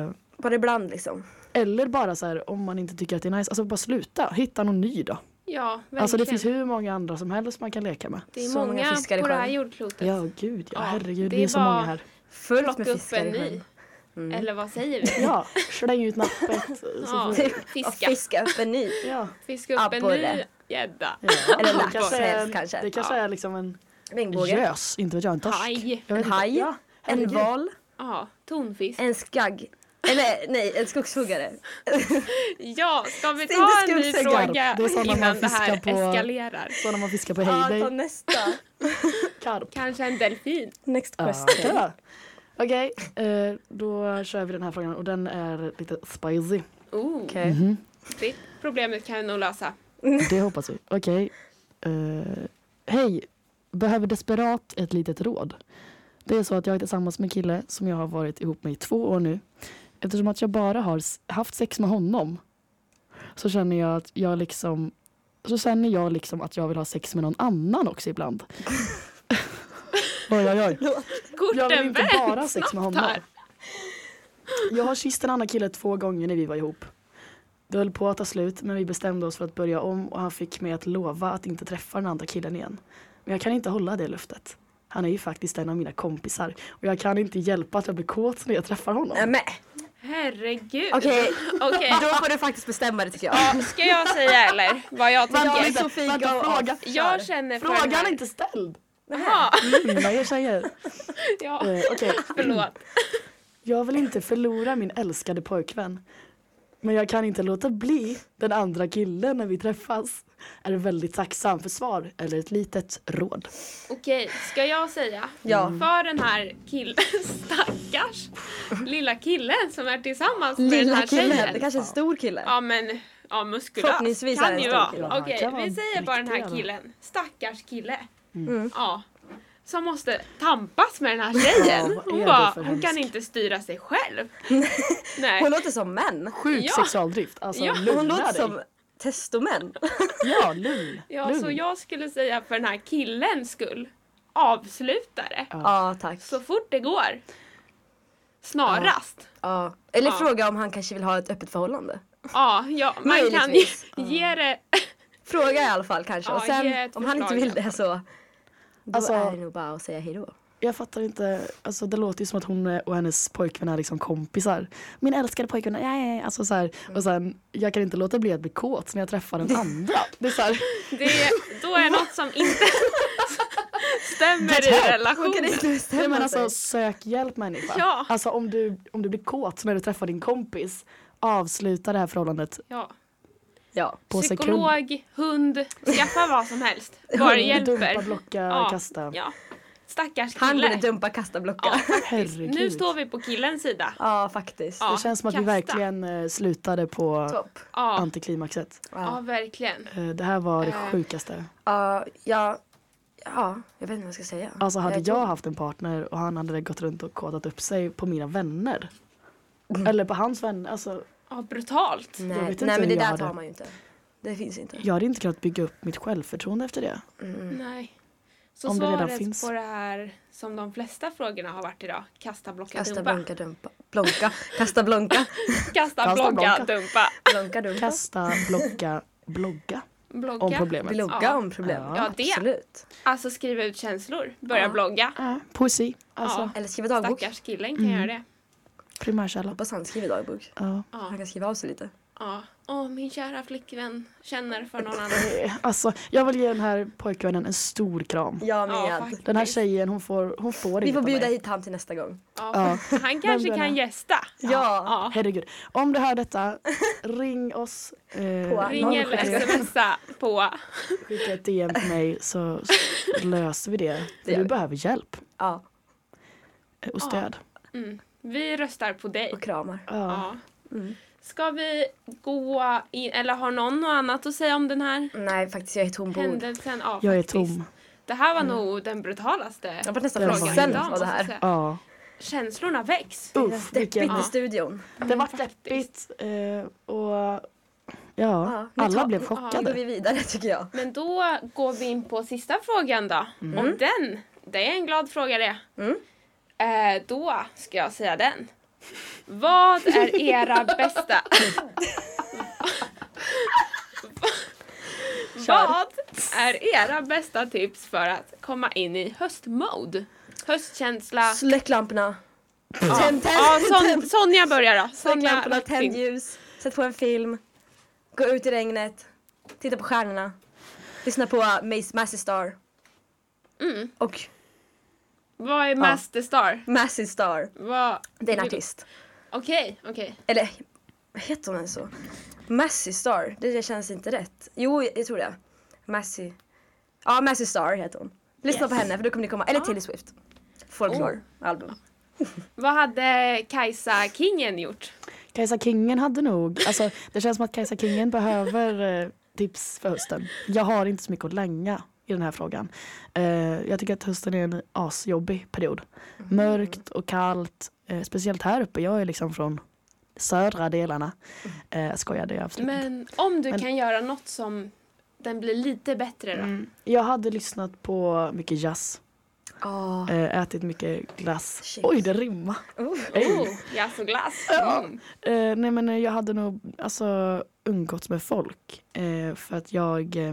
Eh,
bara ibland liksom.
eller bara så här om man inte tycker att det är nice, alltså bara sluta, hitta någon ny då.
Ja, verkligen.
Alltså det finns hur många andra som helst man kan leka med.
Det är
så
många,
många fiskar i
på det här
sjön.
jordklotet.
Ja gud, ja,
Ja,
herregud,
det
det,
är
är så
bara-
många här.
Fullt med
Plocka upp
fiskar
en
i
ny.
sjön. Mm.
Eller
Mm.
vad säger vi?
Ja, släng ut nappet. Så
Ja,
får-
Ja,
fiska.
fiska upp en ny.
Ja.
Fiska upp en
Abborre.
ny gädda.
Eller lax
Kanske
helst kanske.
Det kanske är liksom en
Regnbåge.
gös, inte vet jag, en torsk.
Haj.
En
Jag vet inte.
haj.
Ja,
en
herregud.
val.
Ja,
Eh,
tonfisk.
En skagg. Eller nej, en skogshuggare.
Ja, ska vi
Inte
ta en ny
skuggsäckar.
fråga
Det är sådana man
innan det här
fiskar på-
eskalerar?
Sådana man fiskar på
Ja, ta
Heyday.
nästa.
Karp.
Kanske en delfin?
Next
Ja,
question.
ja. Okej, eh, då kör vi den här frågan och den är lite spicy.
Oh,
Okej.
det problemet kan vi nog lösa.
Det hoppas vi. Okej. Eh, Hej! Behöver desperat ett litet råd. Det är så att jag är tillsammans med en kille som jag har varit ihop med i två år nu. Eftersom att jag bara har s- haft sex med honom så känner jag att jag liksom så känner jag liksom att jag vill ha sex med någon annan också ibland. oj, oj, oj. Jag vill
Korten
inte
vänds!
bara ha sex med honom.
här.
Jag har kysst en annan kille två gånger när vi var ihop. Det höll på att ta slut men vi bestämde oss för att börja om och han fick mig att lova att inte träffa den andra killen igen. Men jag kan inte hålla det löftet. Han är ju faktiskt en av mina kompisar och jag kan inte hjälpa att jag blir kåt när jag träffar honom.
Nej, Äh, men
Herregud.
Okej.
Okej,
Då får du faktiskt bestämma det tycker jag.
ja, ska jag säga eller? Vad jag
Jag är
tycker?
vänta,
Sofie
vänta,
go
fråga.
off.
Jag känner för den
Frågan Mm.
här-
är inte ställd!
Jaha,
Lugna er tjejer.
ja,
Eh, okej.
förlåt.
Jag vill inte förlora min älskade pojkvän. Men jag kan inte låta bli den andra killen när vi träffas. Är väldigt tacksam för svar eller ett litet råd.
Okej, ska jag säga?
Ja.
För den här killen, stackars lilla killen som är tillsammans med den
Lilla
här
killen.
tjejen.
Det kanske är en stor kille.
Ja men, ja muskulös
Förhoppningsvis är
kan
det en
ju
stor
vara.
kille.
Ja,
Okej,
kan vara
vi
en
säger bara den här
riktig jävla.
killen. Stackars kille.
Mm.
Ja. Som måste tampas med den här tjejen.
vad är
hon
det
bara,
för
hon kan
hemskt?
inte styra sig själv.
Hon
Nej.
låter som män.
Sjuk
Ja.
sexualdrift. Alltså
Ja.
lugna
Hon låter
dig.
som testomän.
Ja, lugn.
Ja,
lugn.
så jag skulle säga för den här killens skull, avsluta det.
Ja, tack.
Så fort det går. Snarast.
Ja. Eller
Ja.
fråga om han kanske vill ha ett öppet förhållande.
Ja, ja man kan ju
Möjligtvis.
ge det
Fråga i alla fall kanske.
Ja,
Och sen
ge ett
om han inte
förslag.
vill det så då
Alltså-
är det nog bara att säga hejdå.
Jag fattar inte. Alltså, det låter ju som att hon och hennes pojkvän är liksom kompisar. Min älskade pojkvän. Ja, ja, ja. Alltså, så här. Och sen, jag kan inte låta bli att bli kåt när jag träffar den andra. Det är så här,
Det, då är något som inte stämmer i
Hon kan
relationen.
inte bestämma
Nej, men
sig.
alltså sök hjälp människa.
Ja.
Alltså om du, om du blir kåt när du träffar din kompis, avsluta det här förhållandet
Ja.
Ja.
på sekund.
Psykolog, hund, skaffa vad som helst. Bara
Hund, Dumpa,
hjälper.
blocka, kasta.
ja. Stackars
Han ville
kille.
dumpa kasta blocka.
Ja,
Ja,
faktiskt.
Herregud.
nu står vi på killens sida.
faktiskt.
Ja,
Det känns som att vi
kasta.
verkligen eh, slutade på
Topp.
Ja,
antiklimaxet.
ja verkligen.
Eh, det här var det
Eh.
sjukaste.
Ja, ja, ja, jag vet inte vad jag ska säga.
Alltså hade
tror-
jag haft en partner och han hade gått runt och kåtat upp sig på mina vänner.
Mm.
Eller på hans vänner. Alltså,
Ja, brutalt.
Nej,
jag vet inte
nej
hur
men det
jag
där
hade-
tar man ju inte. Det finns inte.
jag hade inte kunnat bygga upp mitt självförtroende efter det.
Nej. Så
Mm. Om det redan
svaret
finns.
på det här som de flesta frågorna har varit idag. Kasta, blocka,
Kasta
dumpa.
blonka dumpa. Blonka. Kasta blonka.
Kasta,
Kasta,
blocka,
blonka.
dumpa.
Blonka dumpa.
Kasta, blocka, blogga.
Blogga.
om problemet.
Blogga
Ja.
om problem.
Ja, det.
Absolut.
Alltså skriva ut känslor. Börja blogga.
Ja, poesi, alltså
Ja.
Eller skriva dagbok.
Stackars killen kan
Mm.
göra det.
primärkälla.
Hoppas han skriver dagbok.
Ja.
Ja.
Han kan skriva av sig lite.
Ja. Åh, min kära flickvän känner för någon annan.
Eh, Alltså, jag vill ge den här pojkvännen en stor kram.
Jag med.
Ja, faktiskt.
Den här tjejen, hon får, hon får
Vi
inget
får
av
bjuda
mig.
hit han till nästa gång.
Ja. Han kanske
Vem då?
kan gästa.
Ja.
Ja.
Herregud. Om du hör detta, ring oss. Eh,
På
Ring eller
071.
smsa på.
Skicka ett DM till mig så så löser vi det. För
gör
du
vi.
behöver hjälp
Ja,
eh, och stöd.
Vi röstar på dig.
och kramar.
Ja. Mm.
Ja. Ska vi gå in, eller har någon något annat att säga om den här
Nej, faktiskt jag är tom på ord.
händelsen? Ja,
Jag är
faktiskt.
tom. Mm.
Det här var nog den brutalaste
Jag har nästan
Det var
frågan
fint.
sen av det
måste jag
här.
säga.
Ja.
Känslorna väcks.
Uff, vilken...
Deppigt i studion.
Det var
faktiskt.
deppigt. Eh, och ja,
nu
alla
tar-
blev
Nu går vi
chockade.
vidare tycker jag.
Men då går vi in på sista frågan då.
Mm.
Och den, det är en glad fråga det. Eh, då ska jag säga den. Vad är era bästa... Vad är era bästa tips för att komma in i höstmode? Höstkänsla.
Släck lamporna.
Ja.
Tänd,
Ja,
tänd,
son,
tänd.
Sonja börjar då.
Släck
Sonja
lamporna, tänd
Ratting.
ljus. Sätt på en film. Gå ut i regnet. Titta på stjärnorna. Lyssna på Mace Massive Star.
Mm.
Och
Vad är Masterstar?
Massive Star.
Vad...
Det är en artist.
Okej, okej.
Eller heter hon ens så? Massive Star. Det det känns inte rätt. Jo, jag tror det. Massive. Ja, Massive Star heter hon. Lyssna på henne för då kommer ni komma. Eller Taylor Swift. Folklore album.
Vad hade Kajsa Kingen gjort?
Kajsa Kingen hade nog... Alltså, det känns som att Kajsa Kingen behöver eh, tips för hösten. Jag har inte så mycket att länga i den här frågan. Eh, jag tycker att hösten är en asjobbig period. Mörkt och kallt. Eh, speciellt här uppe. Jag är liksom från södra delarna. Eh, skojade jag absolut inte.
Men om du
Men- Mm.
kan göra något som den blir lite bättre då?
Jag hade lyssnat på mycket jazz.
Ja.
Eh, ätit mycket glass.
Chips.
Oj, det rimmar.
Oh.
Oh, jazz och glass. Mm.
Eh, nej men eh, jag hade nog alltså, umgåtts med folk eh, för att jag eh,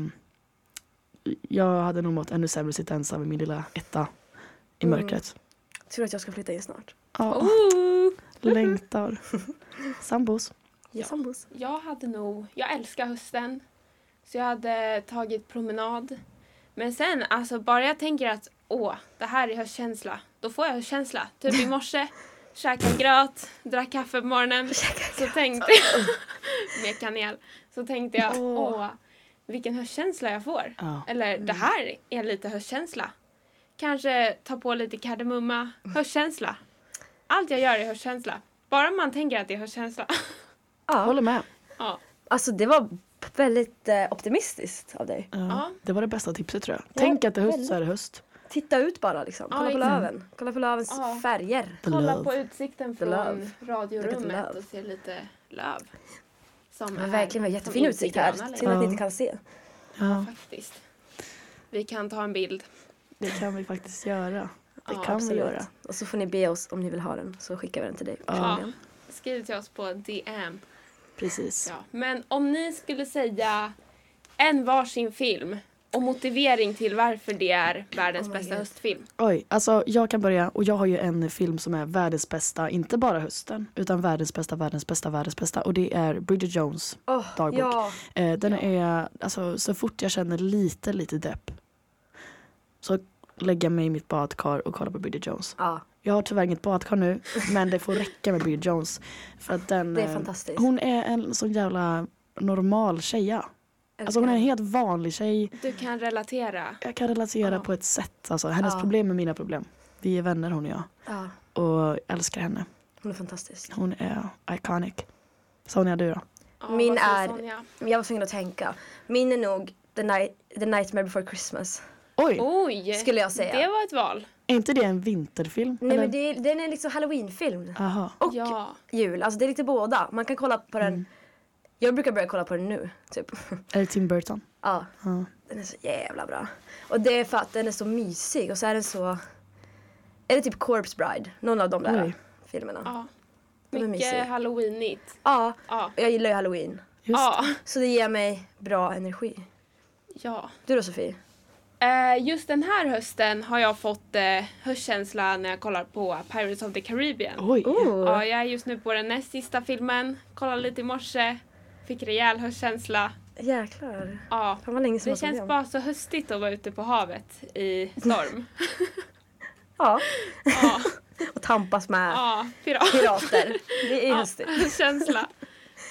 jag hade nog mått ännu sämre att sitta ensam i min lilla etta i
Mm.
mörkret.
Tror att jag ska flytta in snart.
Ja,
Oh.
längtar. Sambos.
Ja. Sambos.
Jag hade nog, jag älskar hösten. Så jag hade tagit promenad. Men sen, alltså bara jag tänker att åh, det här är höstkänsla. Då får jag höstkänsla. Typ i morse, käkade gröt, drack kaffe på morgonen. Så tänkte jag, med kanel, så tänkte jag
Åh.
åh, vilken höstkänsla jag får.
Ja.
Eller det här är lite höstkänsla. Kanske ta på lite kardemumma, höstkänsla. Allt jag gör är höstkänsla. Bara man tänker att det är höstkänsla.
Ja.
Håller med.
Ja.
Alltså det var p- väldigt eh, optimistiskt av dig.
Ja,
Ja.
Det var det bästa tipset tror jag. Tänk att det är höst så är det höst.
Titta ut bara liksom.
Ja,
Kolla på
exakt.
löven. Kolla på lövens
Ja.
färger.
The
Kolla
love.
på utsikten
The
från
love. Look at
radiorummet
love.
och se lite löv. Som
Men
är-
verkligen, vi har
som
jättefin
inte
utsikt
är
här.
gröna
Synd
längre.
att ni
Ja.
inte kan se.
Ja,
Faktiskt. Vi kan ta en bild.
det kan vi faktiskt göra. Det
Ja,
kan
Absolut.
vi göra.
Och så får ni be oss om ni vill ha den så skickar vi den till dig.
Ja.
personligen.
Skriv till oss på DM.
Precis.
Ja. Men om ni skulle säga en varsin film och motivering till varför det är världens
Oh my
bästa
God.
höstfilm.
Oj, alltså jag kan börja och jag har ju en film som är världens bästa, inte bara hösten, utan världens bästa, världens bästa, världens bästa och det är Bridget Jones
Åh,
dagbok.
ja.
Eh, den är, alltså så fort jag känner lite, lite depp så lägger jag mig i mitt badkar och kollar på Bridget Jones.
ja.
Jag har tyvärr inget badkar nu, men det får räcka med Bridget Jones. För att den,
Det är
eh,
fantastiskt.
Hon är en sån jävla normal tjeja. Alltså hon är en helt vanlig tjej.
Du kan relatera.
Jag kan relatera
Ja.
på ett sätt. Alltså, hennes
Ja.
problem är mina problem. Vi är vänner hon och jag.
Ja,
Och jag älskar henne.
hon är fantastisk.
Hon är iconic. Sonja, du då?
Ja,
Min
vad säger
är-
Sonja?
Men Jag var tvungen att tänka. Min är nog The, Night, The Nightmare Before Christmas.
Oj,
Oj!
Skulle jag säga.
Det var ett val.
är inte det en vinterfilm?
Nej men det, är- den är liksom halloweenfilm.
Aha.
Och
Ja.
jul. Alltså det är lite båda. Man kan kolla på
Mm.
den. Jag brukar börja kolla på den nu. Typ.
Är det Tim Burton?
ja.
Ja.
Den är så jävla bra. Och det är för att den är så mysig och så är den så... Är det typ Corpse Bride? Någon av de där
Oj.
filmerna. Ja.
ja.
Den är mysig.
Mycket halloweenigt.
ja.
Ja.
och Jag gillar ju halloween.
Just
ja.
Så det ger mig bra energi.
Ja.
Du då Sofie?
Eh, Just den här hösten har jag fått eh, höstkänsla när jag kollar på Pirates of the Caribbean.
Oh.
Oj.
Ja, jag är just nu på den näst sista filmen. Kollade lite i morse. Fick rejäl höstkänsla.
Jäklar.
Ja.
Fan vad länge sedan
Det
jag såg
känns
den.
bara så höstigt att vara ute på havet i storm.
Ja.
Ja,
Och tampas med
ja pirat.
pirater. Det är höstigt.
Ja, känsla.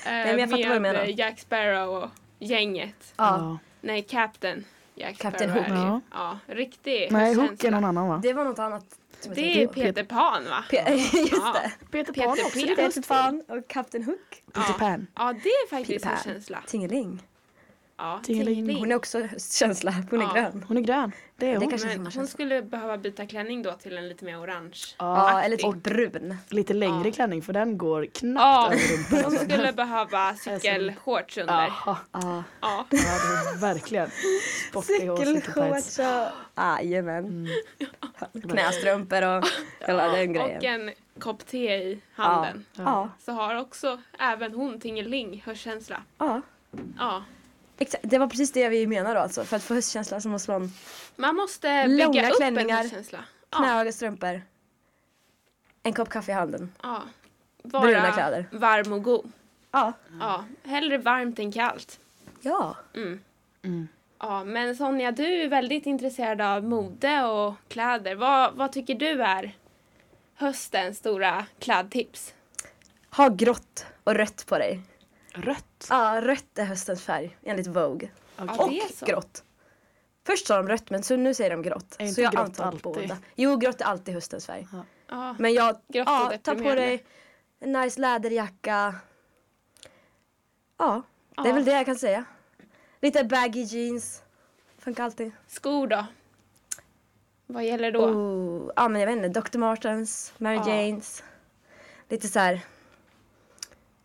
Eh,
men jag fattar vad du menar.
Med Jack Sparrow och gänget.
Ja.
Nej, Captain Jack
Captain
Sparrow.
Hook.
är det ju.
Ja.
Ja, riktig
Nej,
höstkänsla.
Hook är någon annan va?
Det var något annat. som jag
Det är
tänkte på.
Peter Pan va?
Pe- Just
Ja.
det.
Peter
Pan Peter också. Pan.
Peter
typ
Pan och Kapten Hook.
Peter
Ja.
Pan.
Ja, det är faktiskt
Peter
en
Pan.
känsla.
Tingeling.
Ja,
Tingeling.
Hon är också höstkänsla. Hon är
Ja.
grön.
Hon är grön. Det är
Det
hon.
kanske är
Men
samma
hon
känsla.
skulle behöva byta klänning då till en lite mer orange.
Ja, eller typ brun.
Lite längre klänning för den går
Ja,
knappt över
hon
rumpan. alltså.
skulle behöva cykelshorts under.
Jaha.
Ja.
Ja.
Ja, det är verkligen. Sportig och cykeltights.
Cykelshorts och... Ah, Jajamän. Knästrumpor och hela den grejen.
Och en kopp te i handen.
Ja.
Så har också även hon tingeling hörkänsla.
ja.
Ja.
Exakt. Det var precis det vi menar då alltså. För att få höstkänsla så måste man
Man måste
Långa
bygga upp
klänningar.
en hörkänsla. Ja.
knähöga strumpor, en kopp kaffe i handen.
ja.
Bruna
Vara
kläder.
varm och god.
Ja.
Ja. Hellre varmt än kallt.
Ja.
Mm.
Mm.
Ja, men Sonja, du är väldigt intresserad av mode och kläder. Vad, vad tycker du är höstens stora klädtips?
Ha grått och rött på dig.
Rött.
Ja, rött är höstens färg enligt Vogue.
Ja,
Och
det är så.
grått. Först sa de rött men så nu säger de grått.
Är inte
så jag
grått
antar
alltid?
båda. Jo, grått är alltid höstens färg.
Ja.
Men jag,
Grått är
ja, ta på
deprimerande.
dig en nice läderjacka. Ja, det är
Ja.
väl det jag kan säga. Lite baggy jeans. Funkar alltid.
Skor då? Vad gäller då?
Oh, ja men jag vet inte, Dr. Martens, Mary
Ja.
Janes. Lite så här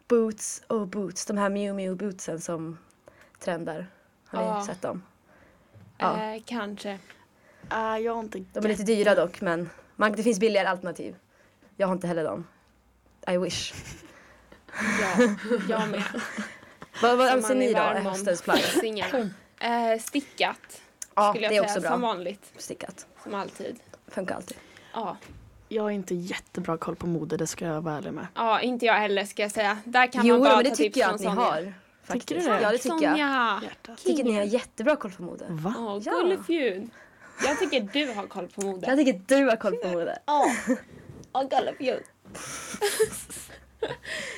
boots och boots, de här Miu Miu bootsen som trendar. Har
Ja.
ni sett dem? ja.
Eh, kanske.
Ah, jag har inte...
De är lite dyra dock men man, det finns billigare alternativ. Jag har inte heller dem. I wish.
Ja, jag med.
Vad, vad
Som
anser
man
ni då
varm
är
om.
höstens plagg? Oh.
Singel. Eh, stickat
Ja,
skulle jag
det är
säga.
också bra.
Som vanligt.
Stickat.
Som alltid.
Funkar alltid.
Ja.
Jag har inte jättebra koll på mode, det ska jag vara ärlig med.
ja, inte jag heller ska jag säga. Där kan
jo,
man bara
men det
ta
tycker
tips
jag
från
att ni
Sonja.
har. Faktiskt.
Tycker du det?
Ja, det tycker jag. Jag
Sonja!
Hjärtat.
tycker ni har jättebra koll på mode.
Va?
Åh,
Ja.
gullefjun. Jag tycker du har koll på mode.
Jag tycker du har koll på mode.
Ja, oh, gullefjun.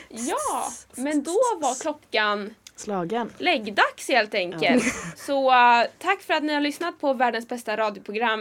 ja, men då var klockan
Slagen.
läggdags helt enkelt. Så eh, tack för att ni har lyssnat på världens bästa radioprogram